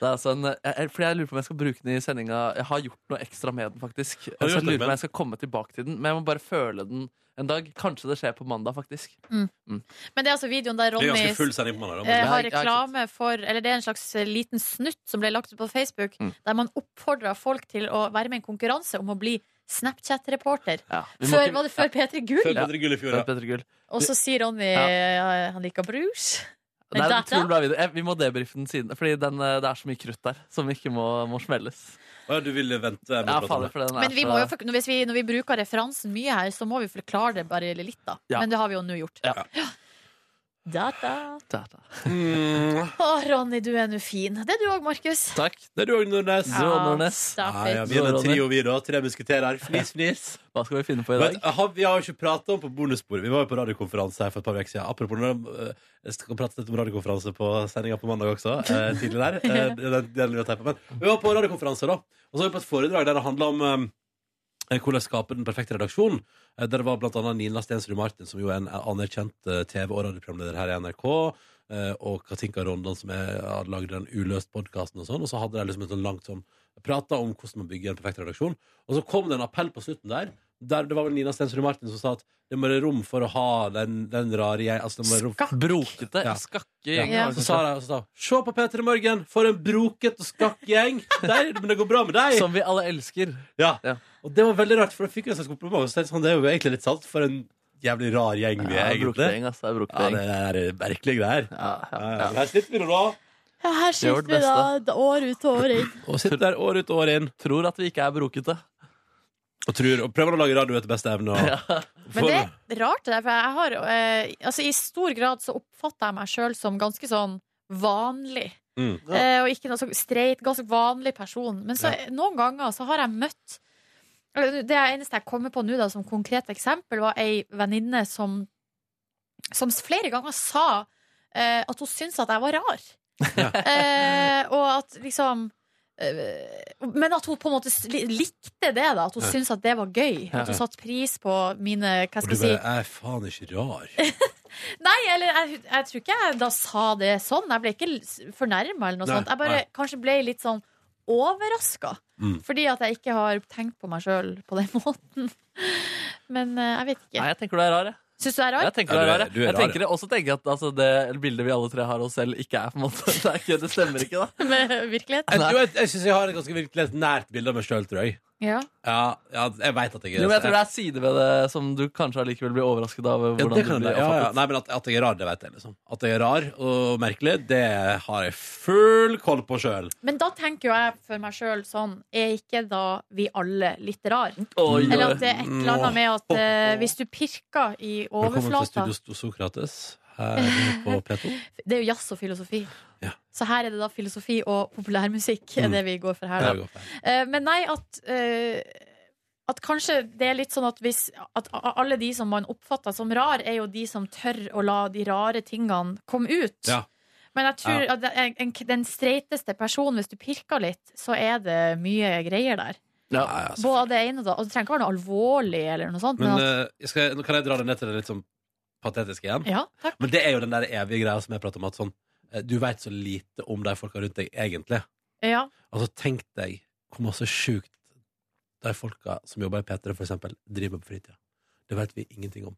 Det er sånn, jeg, jeg- fordi jeg lurer på om jeg skal bruke den i sendinga. Jeg har gjort noe ekstra med den, faktisk. Har du Så jeg gjort noe lurer på med om jeg skal komme tilbake til den, men jeg må bare føle den en dag. Kanskje det skjer på mandag, faktisk. Men det er altså videoen der Det er Ronny ganske full sending på mandag. da. eh, har Ja, ikke reklame for Eller det er en slags eh, liten snutt som ble lagt ut på Facebook, Mm. der man oppfordra folk til å være med i en konkurranse om å bli Snapchat-reporter. Ja, vi må Før ikke- var det før P3 Gull. Før Petter Gull i fjor, Før ja. Petter Gull. Og så sier Ronny Ja. eh, han liker brus. Det er en Data? utrolig bra video. Eh, Vi må debrife den siden, Fordi den, eh, det er så mye krutt der som ikke må, må smelles. Å, ja, Du ville vente med å Ja, prate om fader, det. for den er Men vi så- må jo, fork- hvis vi, når vi bruker referansen mye her, så må vi forklare det bare litt, da. Ja. Men det har vi jo nå gjort. Ja. Data. Da, da. Å, Ronny, du er nå fin. Det er du òg, Markus. Takk. Mm, Det er du òg, Nordnes. Ja. Zero Nordnes. stop Ja, ja, it. vi er en trio, vi, da. Tre musketerer. Fnis, fnis. Hva skal vi finne på i Vet, dag? jeg eh, har, vi har jo ikke prata om på bonussporet. Vi var jo på radiokonferanse her for et par uker siden. Apropos, når, eh, jeg skal prate litt om radiokonferanse på sendinga på mandag også. Eh, tidlig der. Eh, den, den vi har teipet. Men vi var på radiokonferanse, da. Og så var vi på et foredrag der det handla om eh, hvordan skape den perfekte redaksjonen. Eh, der det var blant annet Nina Stensrud Martin, som jo er en anerkjent eh, TV- og radioprogramleder her i NRK. eh, og Katinka Rondan, som er, har lagd den Uløst-podkasten og sånn. Og så hadde de liksom et sånn langt sånn Prata om hvordan man bygger en perfekt redaksjon. Og så kom det en appell på slutten der. der det var vel Nina Stensrud Martin som sa at det må være rom for å ha den, den rare jeg altså, det må være rom for Brokete, Ja. skakke ja. gjenger. Ja. altså, Så sa jeg så sa, hun, Se på P3 Morgen, for en broket og skakk gjeng! Der, men det går bra med deg! Som vi alle elsker. Ja. Ja. Og det var veldig rart, for da fikk jeg en slags kompliment. og så tenkte jeg Sånn, det er jo egentlig litt sant, for en jævlig rar gjeng vi er, Ja, brokete egentlig. gjeng, altså, ass. Det er brokete Ja, gjeng. det er merkelige greier. Ja, Ja, ja, ja. ja. Her sitter vi nå, da. Ja, her gjør sitter det vi da d- år ut og år inn. Og sitter der år ut og år inn Tror at vi ikke er brokete. og, tror, og prøver å lage radio etter beste evne. Og, Men det er rart, det der, for jeg har eh, Altså, i stor grad så oppfatter jeg meg sjøl som ganske sånn vanlig. Mm. Eh, og ikke noe så streit, ganske vanlig person. Men så, noen ganger så har jeg møtt eller Det eneste jeg kommer på nå da, som konkret eksempel, var ei venninne som, som flere ganger sa eh, at hun syntes at jeg var rar. Eh, og at liksom eh, men at hun på en måte s- li- likte det, da. At hun Ja. syntes at det var gøy. At hun satte pris på mine Hva Og du skal jeg si? bare er faen ikke rar. Nei, eller jeg, jeg tror ikke jeg da sa det sånn. Jeg ble ikke fornærma eller noe Nei, sånt. Jeg bare nei. kanskje ble litt sånn overraska. Mm. Fordi at jeg ikke har tenkt på meg sjøl på den måten. Men eh, jeg vet ikke. Nei, jeg tenker du er rar, jeg. Syns du jeg er Jeg rar? tenker Ja, det er du er- rar, jeg. du er jeg rar, tenker det, også tenker jeg at altså, det bildet vi alle tre har av oss selv, ikke er på en måte Det, er ikke, det stemmer ikke, da. Med virkelighet? Jeg, tror jeg, jeg syns jeg har et ganske virkelig nært bilde av meg sjøl, tror jeg. Ja. Ja, ja, jeg vet at jeg Jo, er men jeg tror det er sider ved det som du kanskje allikevel blir overrasket av. ja, Hvordan det du kan blir jeg, ja, ja. oppfattet. Nei, men at, at jeg er rar, det vet jeg. liksom At jeg er rar og merkelig, det har jeg full koll på sjøl. Men da tenker jo jeg for meg sjøl sånn Er ikke da vi alle litt rar? Oi, oi. Eller at det er et eller annet med at eh, hvis du pirker i Velkommen til overflata Studio Sto- Sokrates her inne på P2. Det er jo jazz og filosofi. Ja. Så her er det da filosofi og populærmusikk er Mm. det vi går for her. Der Da. vi går på. Eh, Men nei, at eh, At kanskje det er litt sånn at hvis At a- alle de som man oppfatter som rar, er jo de som tør å la de rare tingene komme ut. Ja. Men jeg tror at det er en, den streiteste personen, hvis du pirker litt, så er det mye greier der. Ja, ja, altså. Både det ene og det og det trenger ikke være noe alvorlig eller noe sånt. Men, Men at, eh, jeg skal, nå kan jeg dra det ned til det litt sånn patetiske igjen. ja, takk. Men det er jo den der evige greia som jeg prater om, at sånn eh, Du veit så lite om de folka rundt deg, egentlig. Ja. Altså, tenk deg hvor masse sjukt de folka som jobber i P3, for eksempel, driver med på fritida. Det vet vi ingenting om.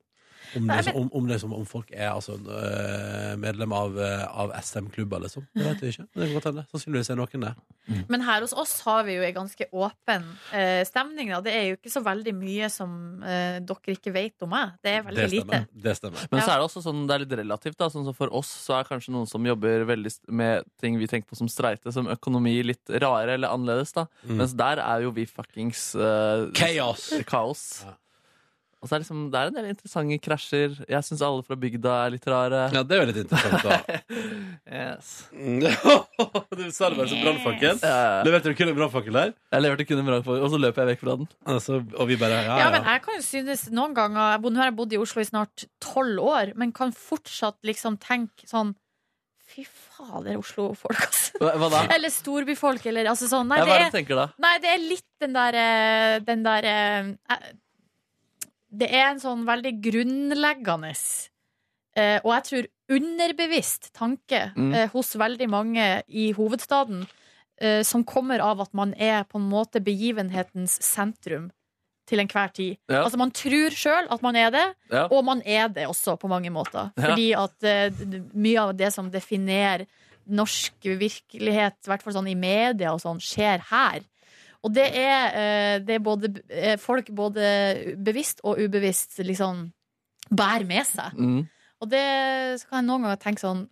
Om, Nei, det, som- om, om, det, som om folk er altså, en, øh, medlem av, øh, av SM-klubber, liksom. Det vet vi ikke. Men det kan godt hende. Sannsynligvis er noen det. Men her hos oss har vi jo en ganske åpen eh, stemning. Da. Det er jo ikke så veldig mye som eh, dere ikke vet om meg. Det er veldig Det lite. stemmer. Det stemmer. Men Ja. så er det også sånn, det er litt relativt. da, sånn som For oss så er kanskje noen som jobber veldig st- med ting vi tenker på som streite, som økonomi, litt rare eller annerledes. da. Mm. Mens der er jo vi fuckings eh, Chaos! kaos. Ja. Og så er det, liksom, det er en del interessante krasjer. Jeg syns alle fra bygda er litt rare. Ja, det er jo litt interessant, da. Yes. du sa det bare som brannfakkel. Ja, ja. Leverte du kun en brannfakkel der? Jeg leverte kun en bra for, og så løper jeg vekk fra den. Altså, og vi bare ja, Ja, ja. men jeg kan jo synes noen ganger jeg bod- Nå har jeg bodd i Oslo i snart tolv år, men kan fortsatt liksom tenke sånn Fy fader, Oslo-folk, altså. Hva, hva da? Eller storbyfolk, eller altså sånn. Nei, Ja, hva det er det er, du tenker da? nei, det er litt den der, eh, den der eh, eh, Det er en sånn veldig grunnleggende eh, og jeg tror underbevisst tanke Mm. eh, hos veldig mange i hovedstaden eh, som kommer av at man er på en måte begivenhetens sentrum til enhver tid. Ja. Altså Man tror sjøl at man er det, Ja. og man er det også på mange måter. Ja. Fordi at eh, d- d- mye av det som definerer norsk virkelighet, i hvert fall sånn i media og sånn, skjer her. Og det er, eh, det er både, b- eh, folk både bevisst og ubevisst liksom bærer med seg. Mm. Og det så kan jeg noen ganger tenke sånn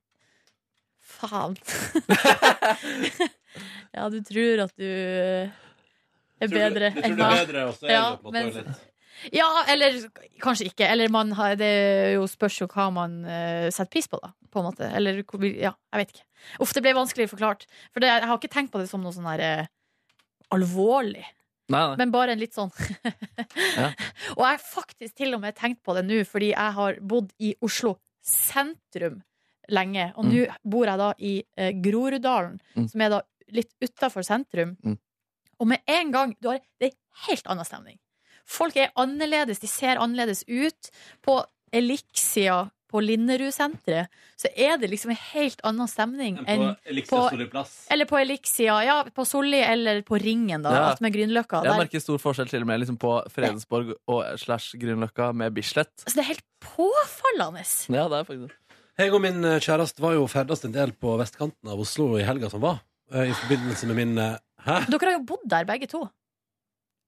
Faen. ja, du tror at du eh, er bedre du, enn tror det meg. er bedre, og så er Ja, det på en måte men- litt Ja, eller kanskje ikke. Eller man har, det er jo spørs jo hva man eh, setter pris på, da. På en måte. Eller hvor vi- ja, jeg vet ikke. Uff, det ble vanskelig forklart. For det, jeg har ikke tenkt på det som noe sånn her eh, alvorlig. Nei, nei. Men bare en litt sånn Ja. Og jeg har faktisk til og med tenkt på det nå Fordi jeg har bodd i Oslo sentrum lenge Og nå bor jeg da i eh, Groruddalen Mm. Som er da litt utenfor sentrum Mm. Og med en gang du har, Det er en helt annen stemning Folk er annerledes, de ser annerledes ut På Elixia På Linnerud-senteret Så er det liksom en helt annen stemning enn enn på Elixir på- Solli plass. eller på Elixia, ja, på Solli eller på Ringen da, Ja. at med Grünerløkka. Jeg Der- merker stor forskjell til og med liksom på Fredensborg og slash Grünerløkka med Bislett. Altså, det er helt påfallende. Ja, det er faktisk det. Jeg og min eh, kjæreste var jo ferdes en del på vestkanten av Oslo i helga som var. eh, I forbindelse med min eh, Hæ? Dere har jo bodd der, begge to.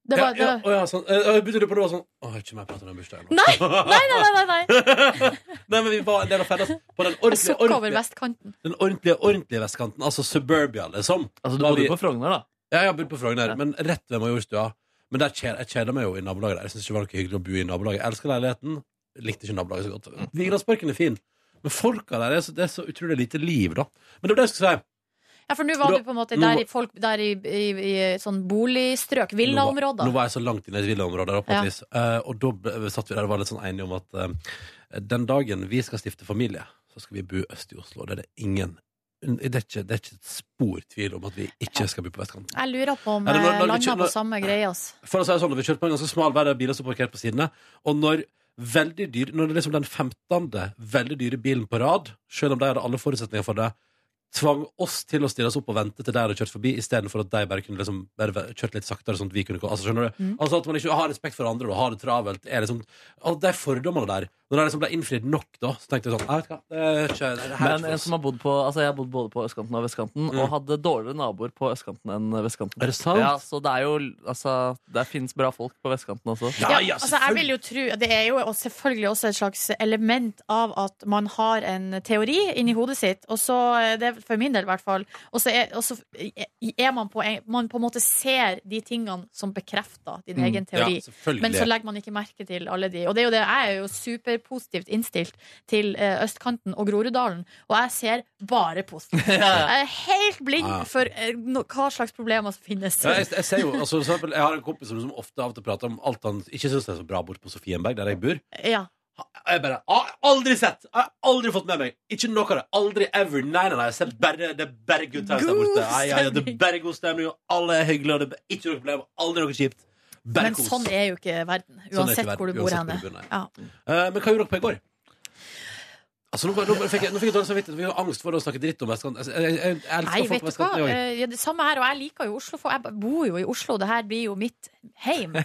Det Ja, var, det ja, var... å ja, sånn. Eh, Jeg begynte å lure på det var sånn Å, ikke mer prat om den bursdagen. Nei, Nei, nei, nei! nei, nei. Nei, men vi var en del av ferdes på den Jeg ordentlige, sukka over ordentlige, vestkanten. den ordentlige, ordentlige vestkanten. Altså suburbia, liksom. Altså, du Var bodde vi- på Frogner, da. Ja, jeg har bodd på Frogner, Ja. men rett ved Majorstua. Men der kjeder, jeg kjeder meg jo i nabolaget. der Jeg synes ikke det var noe hyggelig å bo i nabolaget. Jeg elsker leiligheten. Likte ikke nabolaget så godt. Vigelandsparken er fin, men folka der er så, det er så utrolig lite liv, da. Men det var det jeg skulle si. Ja, for nå var Da- du på en måte nå der var- i, folk, der i, i, i sånn boligstrøk, Nå var- Nå villaområder. var jeg så langt inne i et villaområde. der oppe, Ja. på et vis. Eh, og da ble- satt vi der og var litt sånn enige om at eh, den dagen vi skal stifte familie, så skal vi bo øst i Oslo. Det er det ingen det er ikke, det er ikke et spor tvil om at vi ikke skal by på vestkanten. Jeg lurer på om Ja, det- når- jeg når vi lander kjører- på samme greie. altså. ass. For å si det sånn, Vi kjørte på en ganske smal vei der biler som parkert på sidene. Og når veldig dyr, når det er liksom den 15. veldig dyre bilen på rad, selv om de hadde alle forutsetninger for det, tvang oss til å stille oss opp og vente til de hadde kjørt forbi, istedenfor at de bare kunne liksom, bare ve- kjørt litt saktere. sånn at vi kunne gå. Altså, skjønner du? Mm. Altså At man ikke har respekt for andre og har det travelt. Er liksom, alle de fordommene der. Når de liksom ble innfridd nok, da, så tenkte jeg sånn Jeg vet hva, det er ikke, det er her Men ikke for en oss. Mm. som har bodd på Altså jeg har bodd både på østkanten og vestkanten, og hadde dårligere naboer på østkanten enn vestkanten. Er det sant? Ja, så det er jo Altså, det fins bra folk på vestkanten også. Ja, altså, jeg vil jo tro, det er jo og selvfølgelig også et slags element av at man har en teori inni hodet sitt, og så, eh, det er for min del i hvert fall, og så er, og så er man på en Man på en måte ser de tingene som bekrefter din Mm. egen teori, Ja, selvfølgelig. men så legger man ikke merke til alle de. Og det er jo det, jeg er jo superpositivt innstilt til eh, østkanten og Groruddalen, og jeg ser bare positivt. Jeg er helt blind Ja. for eh, no, hva slags problemer som finnes. Ah. Ja, jeg, jeg ser jo, altså, for eksempel, jeg har en kompis som ofte av og til prater om alt han ikke syns er så bra borte på Sofienberg, der jeg bor. Ja. Jeg bare, «Ah, Aldri sett! Jeg har aldri fått med meg! Ikke noe av det. Aldri ever. Nei, nei, nei. Jeg ser bare, det er bare good times der God borte. Nei, ja, ja, det er bare god stemning, og alle er hyggelige, og det er ikke noe problem. Aldri noe kjipt. Bare Men kos. sånn er jo ikke verden, Sånn er ikke uansett verden, hvor du bor uansett henne. hvor du bor, nei. Ja. Eh, men hva gjorde dere på i går? Altså, nå, nå, fikk jeg, nå fikk jeg dårlig samvittighet. Vi har angst for å snakke dritt om Vestkanten. Jeg, jeg, jeg, jeg elsker Nei, folk på vet du hva? Vestkanten. jeg også. Eh, Ja, det samme her, og jeg liker jo Oslo, for jeg bor jo i Oslo. Det her blir jo mitt heim,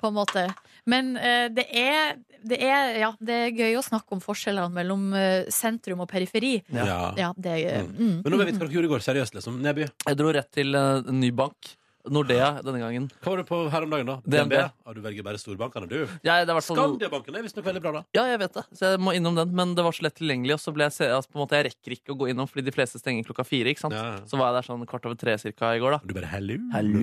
på en måte. Men eh, det er, det er, ja, det er gøy å snakke om forskjellene mellom eh, sentrum og periferi. Ja. det er, Mm. mm. Men nå vil jeg vite hva dere gjorde i går. Seriøst, liksom. Nedby? Jeg dro rett til eh, en ny bank. Nordea denne gangen. Hva var det på her om dagen, da? DNB. Ja, du velger bare storbankene, du. Ja, det er i hvert fall- Skandiabanken er visstnok veldig bra, da. Ja, jeg vet det, så jeg må innom den. Men det var så lett tilgjengelig, og så ble jeg, se- altså, på en måte, jeg rekker ikke å gå innom fordi de fleste stenger klokka fire. ikke sant? Så var jeg der sånn kvart over tre cirka i går, da. Du bare, hello.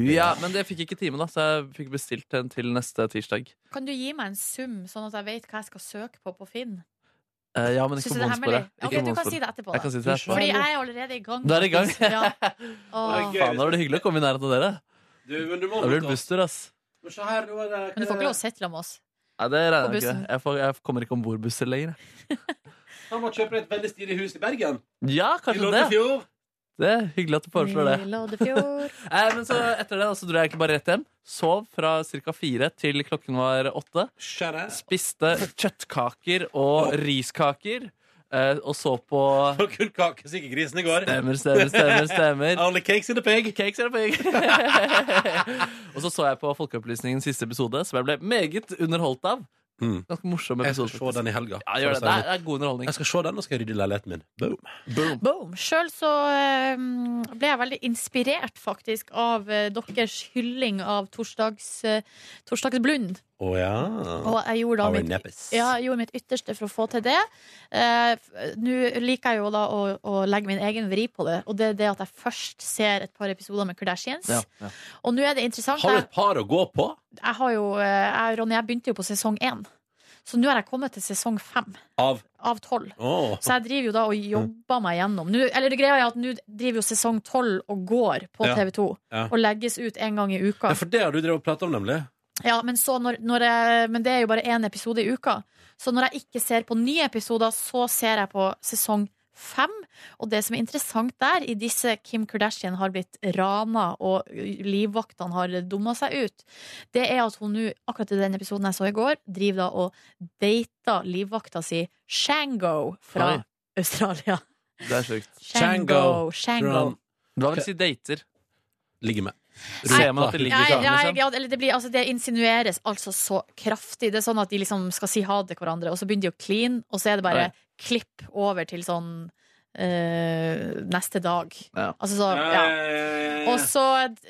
Ja, men jeg fikk ikke time, da, så jeg fikk bestilt den til neste tirsdag. Kan du gi meg en sum, sånn at jeg vet hva jeg skal søke på på Finn? Eh, ja, men ikke Synes på du det er hemmelig? bonussporet. Ikke Ok, du på kan bonussporet. si det etterpå. Jeg kan si det etterpå. Fordi jeg er allerede i gang. Du er i gang? Ja. Åh. Faen, da var det hyggelig å komme i nærheten av dere. Du, men du må Da blir det busstur, ass. Men se her, nå er det Men du får ikke lov å sitte sammen med oss. Nei, det På regner jeg bussen. ikke. Jeg, får, jeg kommer ikke om bord busser lenger. jeg. Han må kjøpe et veldig stilig hus i Bergen. Ja, I kanskje det. Loddefjord. Det er Hyggelig at du foreslår det. Loddefjord. Nei, men så Etter det da, så dro jeg egentlig bare rett hjem. Sov fra ca. fire til klokken var åtte. Spiste kjøttkaker og riskaker. eh, Og så på Og kun kake, så ikke grisen i går. Stemmer, stemmer, stemmer. stemmer. Only cakes in the pig. Cakes in the pig. Og så så jeg på Folkeopplysningens siste episode, som jeg ble meget underholdt av. Ganske morsom Mm. episode. Jeg skal se den i helga. Ja, gjør det. Det er, det er god underholdning. Jeg skal se den, og skal jeg rydde i leiligheten min. Boom. Boom. Sjøl så eh, ble jeg veldig inspirert, faktisk, av eh, deres hylling av torsdags, eh, torsdags Blund. Å ja. Og jeg gjorde da Our mitt, nepes. ja, jeg gjorde mitt ytterste for å få til det. Eh, f- Nå liker jeg jo da å, å legge min egen vri på det, og det er det at jeg først ser et par episoder med Kardashians. Ja, ja. Og nå er det interessant. Har du Jeg, et par å gå på? jeg har jo, eh, jeg, Ronny, jeg begynte jo på sesong én, så nå har jeg kommet til sesong fem Av av tolv. Åh. Så jeg driver jo da og jobber meg gjennom. Nå, eller det greia er at nå driver jo sesong 12 og går på Ja. TV2. Ja. Og legges ut en gang i uka. Ja, for det har du drevet og pratet om, nemlig. Ja, men, så når, når jeg, men det er jo bare én episode i uka. Så når jeg ikke ser på nye episoder, så ser jeg på sesong fem. Og det som er interessant der, i disse Kim Kardashian har blitt rana, og livvaktene har dumma seg ut, det er at hun nå, akkurat i den episoden jeg så i går, driver da og dater livvakta si Shango fra Oi. Australia. Det er sjukt. Shango, Shango. Du har vel si dater. Ligger med. Ser man at det ligger Nei, sammen, nei liksom? ja, eller det, blir, altså, det insinueres altså så kraftig. Det er sånn at de liksom skal si ha det til hverandre, og så begynner de å kline, og så er det bare Nei. klipp over til sånn eh, neste dag. Ja. Altså så Ja. Og så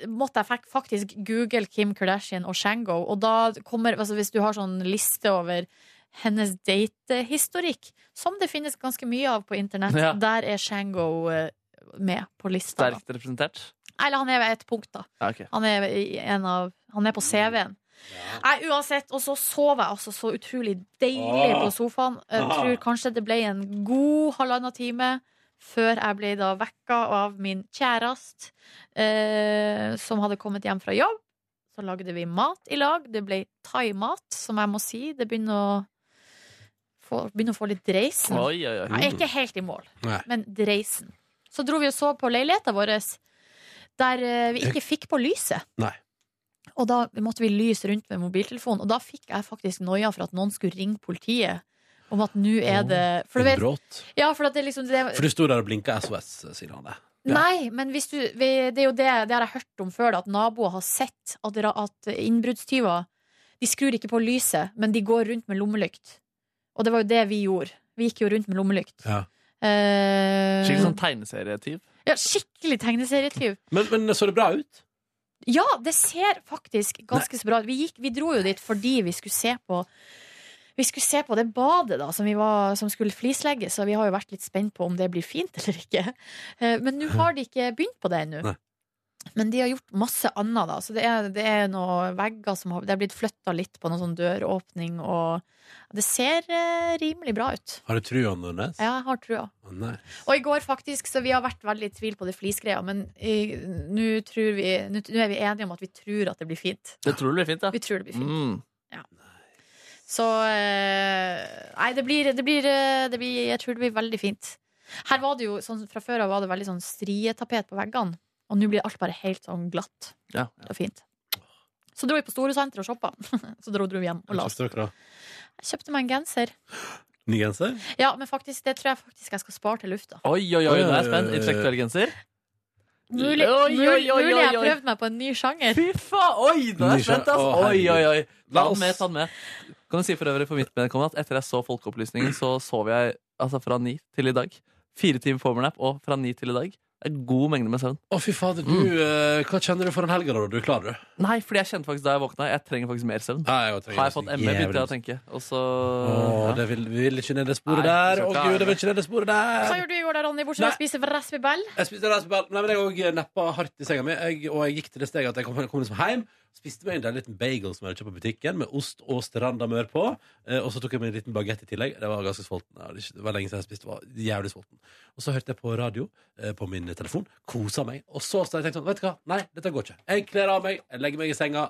måtte jeg fak- faktisk google Kim Kardashian og Shango, og da kommer altså, Hvis du har sånn liste over hennes datehistorikk, som det finnes ganske mye av på internett, Ja. der er Shango eh, med på lista. da. Sterkt representert. Eller han er ved et punkt, da. Ja, ok. Han er, i en av, han er på CV-en. Nei, uansett. Og så sov jeg altså så utrolig deilig Åh. på sofaen. Jeg Ah. tror kanskje det ble en god halvannen time før jeg ble da vekka av min kjæreste, eh, som hadde kommet hjem fra jobb. Så lagde vi mat i lag. Det ble thaimat, som jeg må si. Det begynner å få, begynner å få litt dreisen. Oi, oi, oi. Mm. Jeg er ikke helt i mål, Nei. men dreisen. Så dro vi og så på leiligheten vår, der eh, vi ikke fikk på lyset. Nei. Og da måtte vi lyse rundt med mobiltelefon, og da fikk jeg faktisk noia for at noen skulle ringe politiet om at nå er det For du vet Brått. ja, for, at det er liksom, det, For du sto der og blinka SOS, sier han det. Nei, men hvis du, vi, det er jo det, det har jeg hørt om før, da, at naboer har sett at, ra- at innbruddstyver De skrur ikke på lyset, men de går rundt med lommelykt. Og det var jo det vi gjorde. Vi gikk jo rundt med lommelykt. Ja. Eh, Skikkelig sånn tegneserietyv. ja, skikkelig tegneserietyv. Men, men så det bra ut? Ja, det ser faktisk ganske så bra ut. Vi, gikk- vi dro jo dit fordi vi skulle se på vi skulle se på det badet da, som, vi var, som skulle flislegges, så vi har jo vært litt spent på om det blir fint eller ikke. Eh, Men nå har de ikke begynt på det ennå. Nei. Men de har gjort masse annet, da. Så det er, det er noen vegger som har Det er blitt flytta litt på noen sånn døråpning, og det ser eh, rimelig bra ut. Har du trua, Nordnes? Ja, jeg har trua. Å, Nei. Og i går faktisk, så vi har vært veldig i tvil på det flisgreia, men eh, nå tror vi Nå nå er vi enige om at vi tror at det blir fint. Det tror du blir fint, da. Vi tror det blir fint. Mm. Så eh, Nei, det blir, det, blir, eh, det blir Jeg tror det blir veldig fint. Her var det jo sånn fra før av var det veldig sånn strietapet på veggene. Og nå blir alt bare helt sånn glatt Ja. og fint. Så dro vi på Storesenteret og shoppa. Så dro, dro vi hjem og la oss. Kjøpte dere da Jeg kjøpte meg en genser. ny genser? Ja, men faktisk, det tror jeg faktisk jeg skal spare til lufta. Oi, oi, oi, nå er jeg spent. Intellektuell genser? Mulig, Oi, mulig, oi, oi, mulig jeg oi, oi. prøvde meg på en ny sjanger. Fy faen! Oi, nå er jeg spent, ass! Å, Oi, herregud. oi, oi. La Ta oss- den med, ta den med. Kan jeg si for øvrig for mitt vedkommende at etter jeg så Folkeopplysningen, så sov jeg altså fra ni til i dag. Fire timer powernap og fra ni til i dag. Det er god mengde med søvn. Å, fy fader, du, eh, hva kjenner du for en helg da? Du er klar, du? Nei, fordi jeg kjente faktisk da jeg våkna, jeg trenger faktisk mer søvn. Nei, jeg trenger Har jeg fått nesten ME, begynte jeg å jævlig- tenke. Og så Å, ja. det vil, vi vil ikke ned det sporet Nei, der. vi Å skal klare gud, jeg vil det. ikke ned det sporet Hva der. gjorde du i går da, Ronny, bortsett fra Eh, å Nei. spise raspibell? Jeg spiste raspeball. Nei, men jeg òg neppa hardt i senga mi, jeg, og jeg gikk til det steget at jeg kom, kom liksom hjem. Spiste meg en deilig liten bagel som jeg hadde kjøpt på butikken, med ost og strandamør på. eh, Og så tok jeg meg en liten bagett i tillegg. Jeg var ganske sulten. Jeg hadde ikke- Det var lenge siden jeg spiste. Jeg var jævlig sulten. Og så hørte jeg på radio eh, på min telefon. Kosa meg. Og så så jeg tenkte sånn, vet du hva, nei, dette går ikke. Jeg kler av meg, jeg legger meg i senga.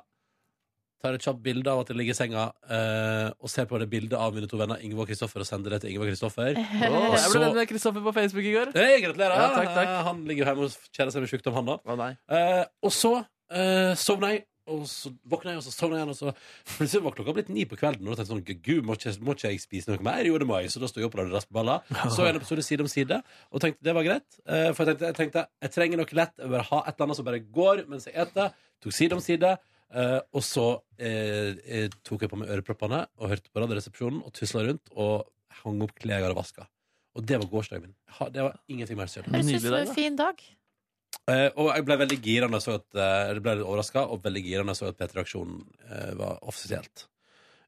Tar et kjapt bilde av at jeg ligger i senga, eh, og ser på det bildet av mine to venner Ingeborg og Kristoffer, og sender det til Ingeborg og Kristoffer. Å, jeg ble Så- venn med Kristoffer på Facebook i går. Hei, gratulerer. Ja, takk, takk. Eh, Han ligger jo hjemme og kjeder seg med sjukdom, han da. Å, nei. Eh, og så uh, sovna jeg, og så våkna jeg, og så sovna jeg igjen. Og så plutselig var klokka blitt ni på kvelden, og da tenkte jeg sånn Gud, må ikke, må ikke jeg spise noe mer? Jo, det må jeg. Så da sto jeg opp og lagde raspeballer. Så en episode side om side, og tenkte det var greit. Eh, for jeg tenkte, jeg tenkte jeg trenger noe lett, jeg vil bare ha et eller annet som bare går mens jeg eter. Tok side om side. eh, og så eh, eh, tok jeg på meg øreproppene og hørte på Radioresepsjonen og tusla rundt og hang opp klær jeg hadde vaska. Og det var gårsdagen min. Ha- Det var ingenting mer synd. Høres ut Nydelig som dag, en da. fin dag. Eh, og jeg ble veldig gira når jeg så at eh, Jeg ble litt overraska, og veldig gira når jeg så at P3-aksjonen eh, var offisielt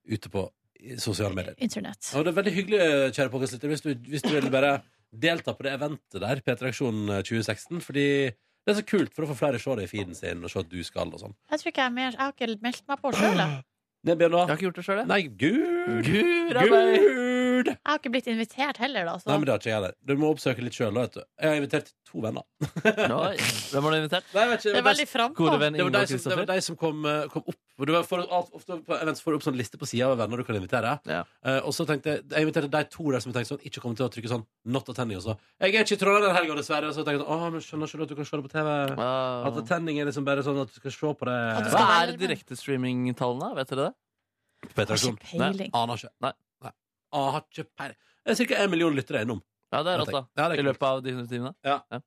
ute på i sosiale medier. Internett. Og det er veldig hyggelig, eh, kjære podkastlytter, hvis, du- hvis du vil bare delta på det eventet der, P3-aksjonen eh, 2016, fordi det er så kult for å få flere se det i feeden sin, og se at du skal og sånn. Jeg tror ikke jeg er mer Jeg har ikke meldt meg på sjøl, jeg. Nei, Jeg Bjørn, da? har ikke gjort det sjøl, jeg. Nei, gud! Gura meg! Gud! Jeg har ikke blitt invitert heller, da. Så. Nei, men det har ikke jeg heller. Du må oppsøke litt sjøl, da, vet du. Jeg har invitert to venner. Oi, Hvem har du invitert? Nei, jeg vet ikke, det er veldig frampå. Gode venn Det var Ingeborg de som, det var Kristoffer. de som kom, eh, kom opp. Og Du får, alt- ofte på events får du opp sånn liste på sida av venner du kan invitere. Ja. Eh, og så tenkte Jeg jeg inviterte de to der som jeg tenkte sånn ikke kommer til å trykke sånn not attending. Og så Jeg er ikke i Trondheim den helga, dessverre. Og så tenkte jeg sånn, Åh, men skjønner ikke du at du kan se det på TV? At Ah. attending er liksom bare sånn at du skal se på At du det. Hva er direktestreamingtallene? Vet dere det? Jeg har Petrasjon. ikke peiling. Aner ikke. Nei. Nei. Aner ikke peiling. Det er ca. en million lyttere innom. Ja, det er rått, da. Ja, det er I kult. løpet av de 100 timene. Ja, det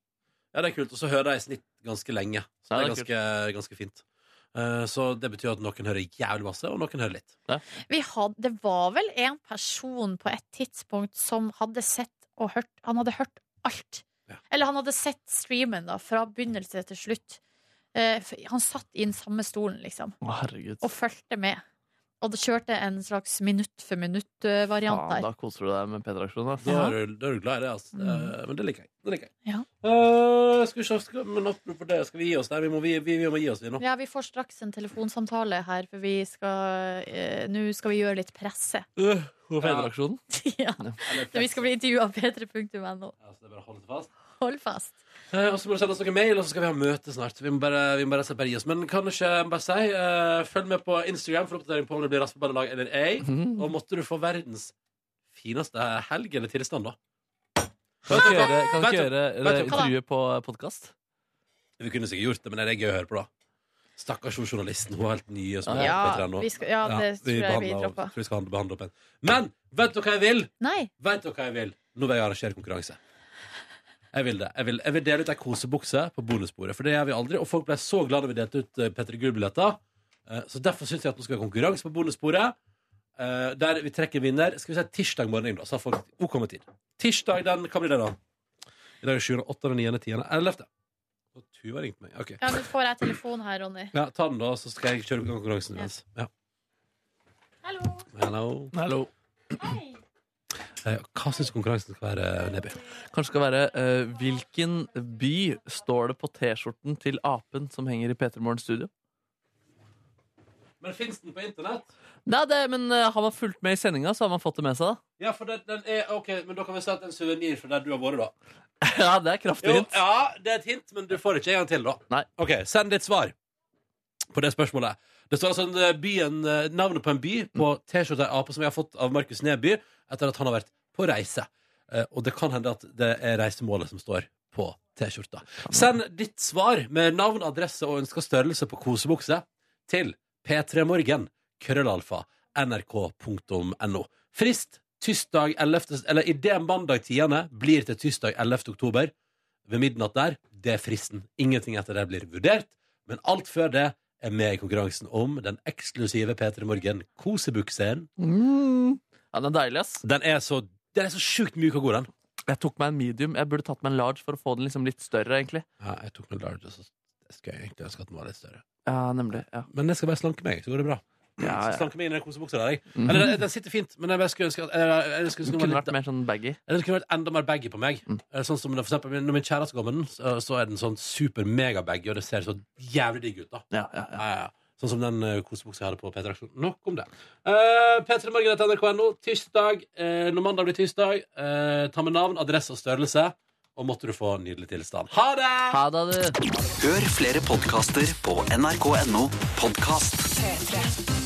er kult. Og så hører jeg i snitt ganske lenge. Ja, Så det er det er ganske, ganske fint. Eh, så det betyr at noen hører jævlig masse, og noen hører litt. Vi hadde, det var vel en person på et tidspunkt som hadde sett og hørt Han hadde hørt alt. Ja. Eller han hadde sett streamen da, fra begynnelse til slutt. Eh, f- han satt i den samme stolen, liksom, Å, herregud. og fulgte med. Og det kjørte en slags minutt for minutt-variant Faen, der. da koser du deg med P-traksjonen. ass. Da Ja. Mm. er, du, da er du glad i det, altså. Det er- men det liker jeg. Det liker jeg. Ja. Eh, skal vi se, skal, men apropos det, skal vi gi oss der? Vi må, vi, vi, vi må gi oss, vi nå. Ja, vi får straks en telefonsamtale her, for vi skal eh, Nå skal vi gjøre litt presse. Øh, Og P-traksjonen. ja. Vi skal bli intervjua av p3.no. Ja, så det er bare å holde det fast. Hold fast. Eh, og så må du sende oss noen mail, og så skal vi ha møte snart. Vi må bare, vi må bare, bare gi oss. Men kan ikke jeg bare si, eh, følg med på Instagram for oppdatering på om det blir Raspeballelag eller Mm. ei. Og måtte du få verdens fineste helg eller tilstand, da. Kan du ikke gjøre, kan du Vet ikke du- gjøre vet du- eh, intervjuet på podkast? Vi kunne sikkert gjort det, men det er gøy å høre på, da. Stakkars hun journalisten. Hun er helt ny. Og som er Ja, helt veteran nå. vi skal- ja, det tror jeg vi behandler- dropper. tror vi skal handle- behandle opp en. Men vet dere hva jeg vil? Nei. Vet dere hva jeg vil? Nå vil jeg arrangere konkurranse. Jeg vil det. Jeg vil, jeg vil dele ut ei kosebukse på bonusbordet, for det gjør vi aldri. Og folk ble så glad da vi delte ut eh, Petter Gull-billetter. Eh, Så derfor syns jeg at vi skal ha konkurranse på bonusbordet. eh, Der vi trekker en vinner. Skal vi si tirsdag morgen, da, så har folk OK med tid. Tirsdag, den, hva blir det, da? I dag er det 7., 8., 9., 10., 11. Og Tuva har ringt meg. OK. Ja, nå får jeg telefon her, Ronny. Ja, ta den da, så skal jeg kjøre konkurransen mens. Ja. Hallo. Hallo. Eh, Hva syns du konkurransen skal være, Neby? Kanskje skal være eh, Hvilken by står det på T-skjorten til apen som henger i P3 Morgens studio? Men fins den på internett? Nei, det, men eh, Har man fulgt med i sendinga, så har man fått det med seg, da. Ja, for den, den er OK, men da kan vi si at det er en suvenir fra der du har vært, da. Ja, det er kraftig Jo, hint. ja, det er et hint, men du får det ikke en gang til, da. OK, send ditt svar på det spørsmålet. Det står altså en, eh, byen, eh, navnet på en by på T-skjorta ei ape som vi har fått av Markus Neby etter at han har vært på reise. Eh, Og det kan hende at det er reisemålet som står på T-skjorta. Send ditt svar med navn, adresse og ønska størrelse på kosebukse til p3morgen, krøllalfa, nrk.no. Frist tirsdag 11. Eller idet mandag 10. blir til tirsdag 11. oktober. Ved midnatt der, det er fristen. Ingenting etter det blir vurdert. Men alt før det er med i konkurransen om den eksklusive P3 Morgen-kosebuksen. Mm. Ja, den er deilig, ass. Den er så, den er så sjukt myk og god, den. Jeg tok meg en medium. Jeg burde tatt meg en large for å få den liksom litt større, egentlig. Ja, jeg tok meg en large, og så skulle jeg egentlig ønske at den var litt større. Ja, nemlig. Ja. Men jeg skal bare slanke meg, så går det bra. Ja, Så ja. slanke meg inn i den kosebuksa der, jeg. Mhm. Eller, den sitter fint, men jeg bare skulle ønske at jeg, jeg skulle ønske Den den var kunne litt vært mer sånn baggy. Eller det kunne vært enda mer baggy på meg. Eh, Sånn som det, for eksempel, Når min kjæreste går med den, så, så er den sånn super mega-baggy, og det ser så jævlig digg ut. da Ja, ja. Sånn som den eh, kosebuksa jeg hadde på P3 Aksjon. Nok om det. Uh, P3 Morgen etter nrk.no. Tirsdag, eh, når mandag blir tirsdag, eh, ta med navn, adresse og størrelse, og måtte du få en nydelig tilstand. Ha det! Ha det, du. Hør flere podkaster på nrk.no podkast. P3.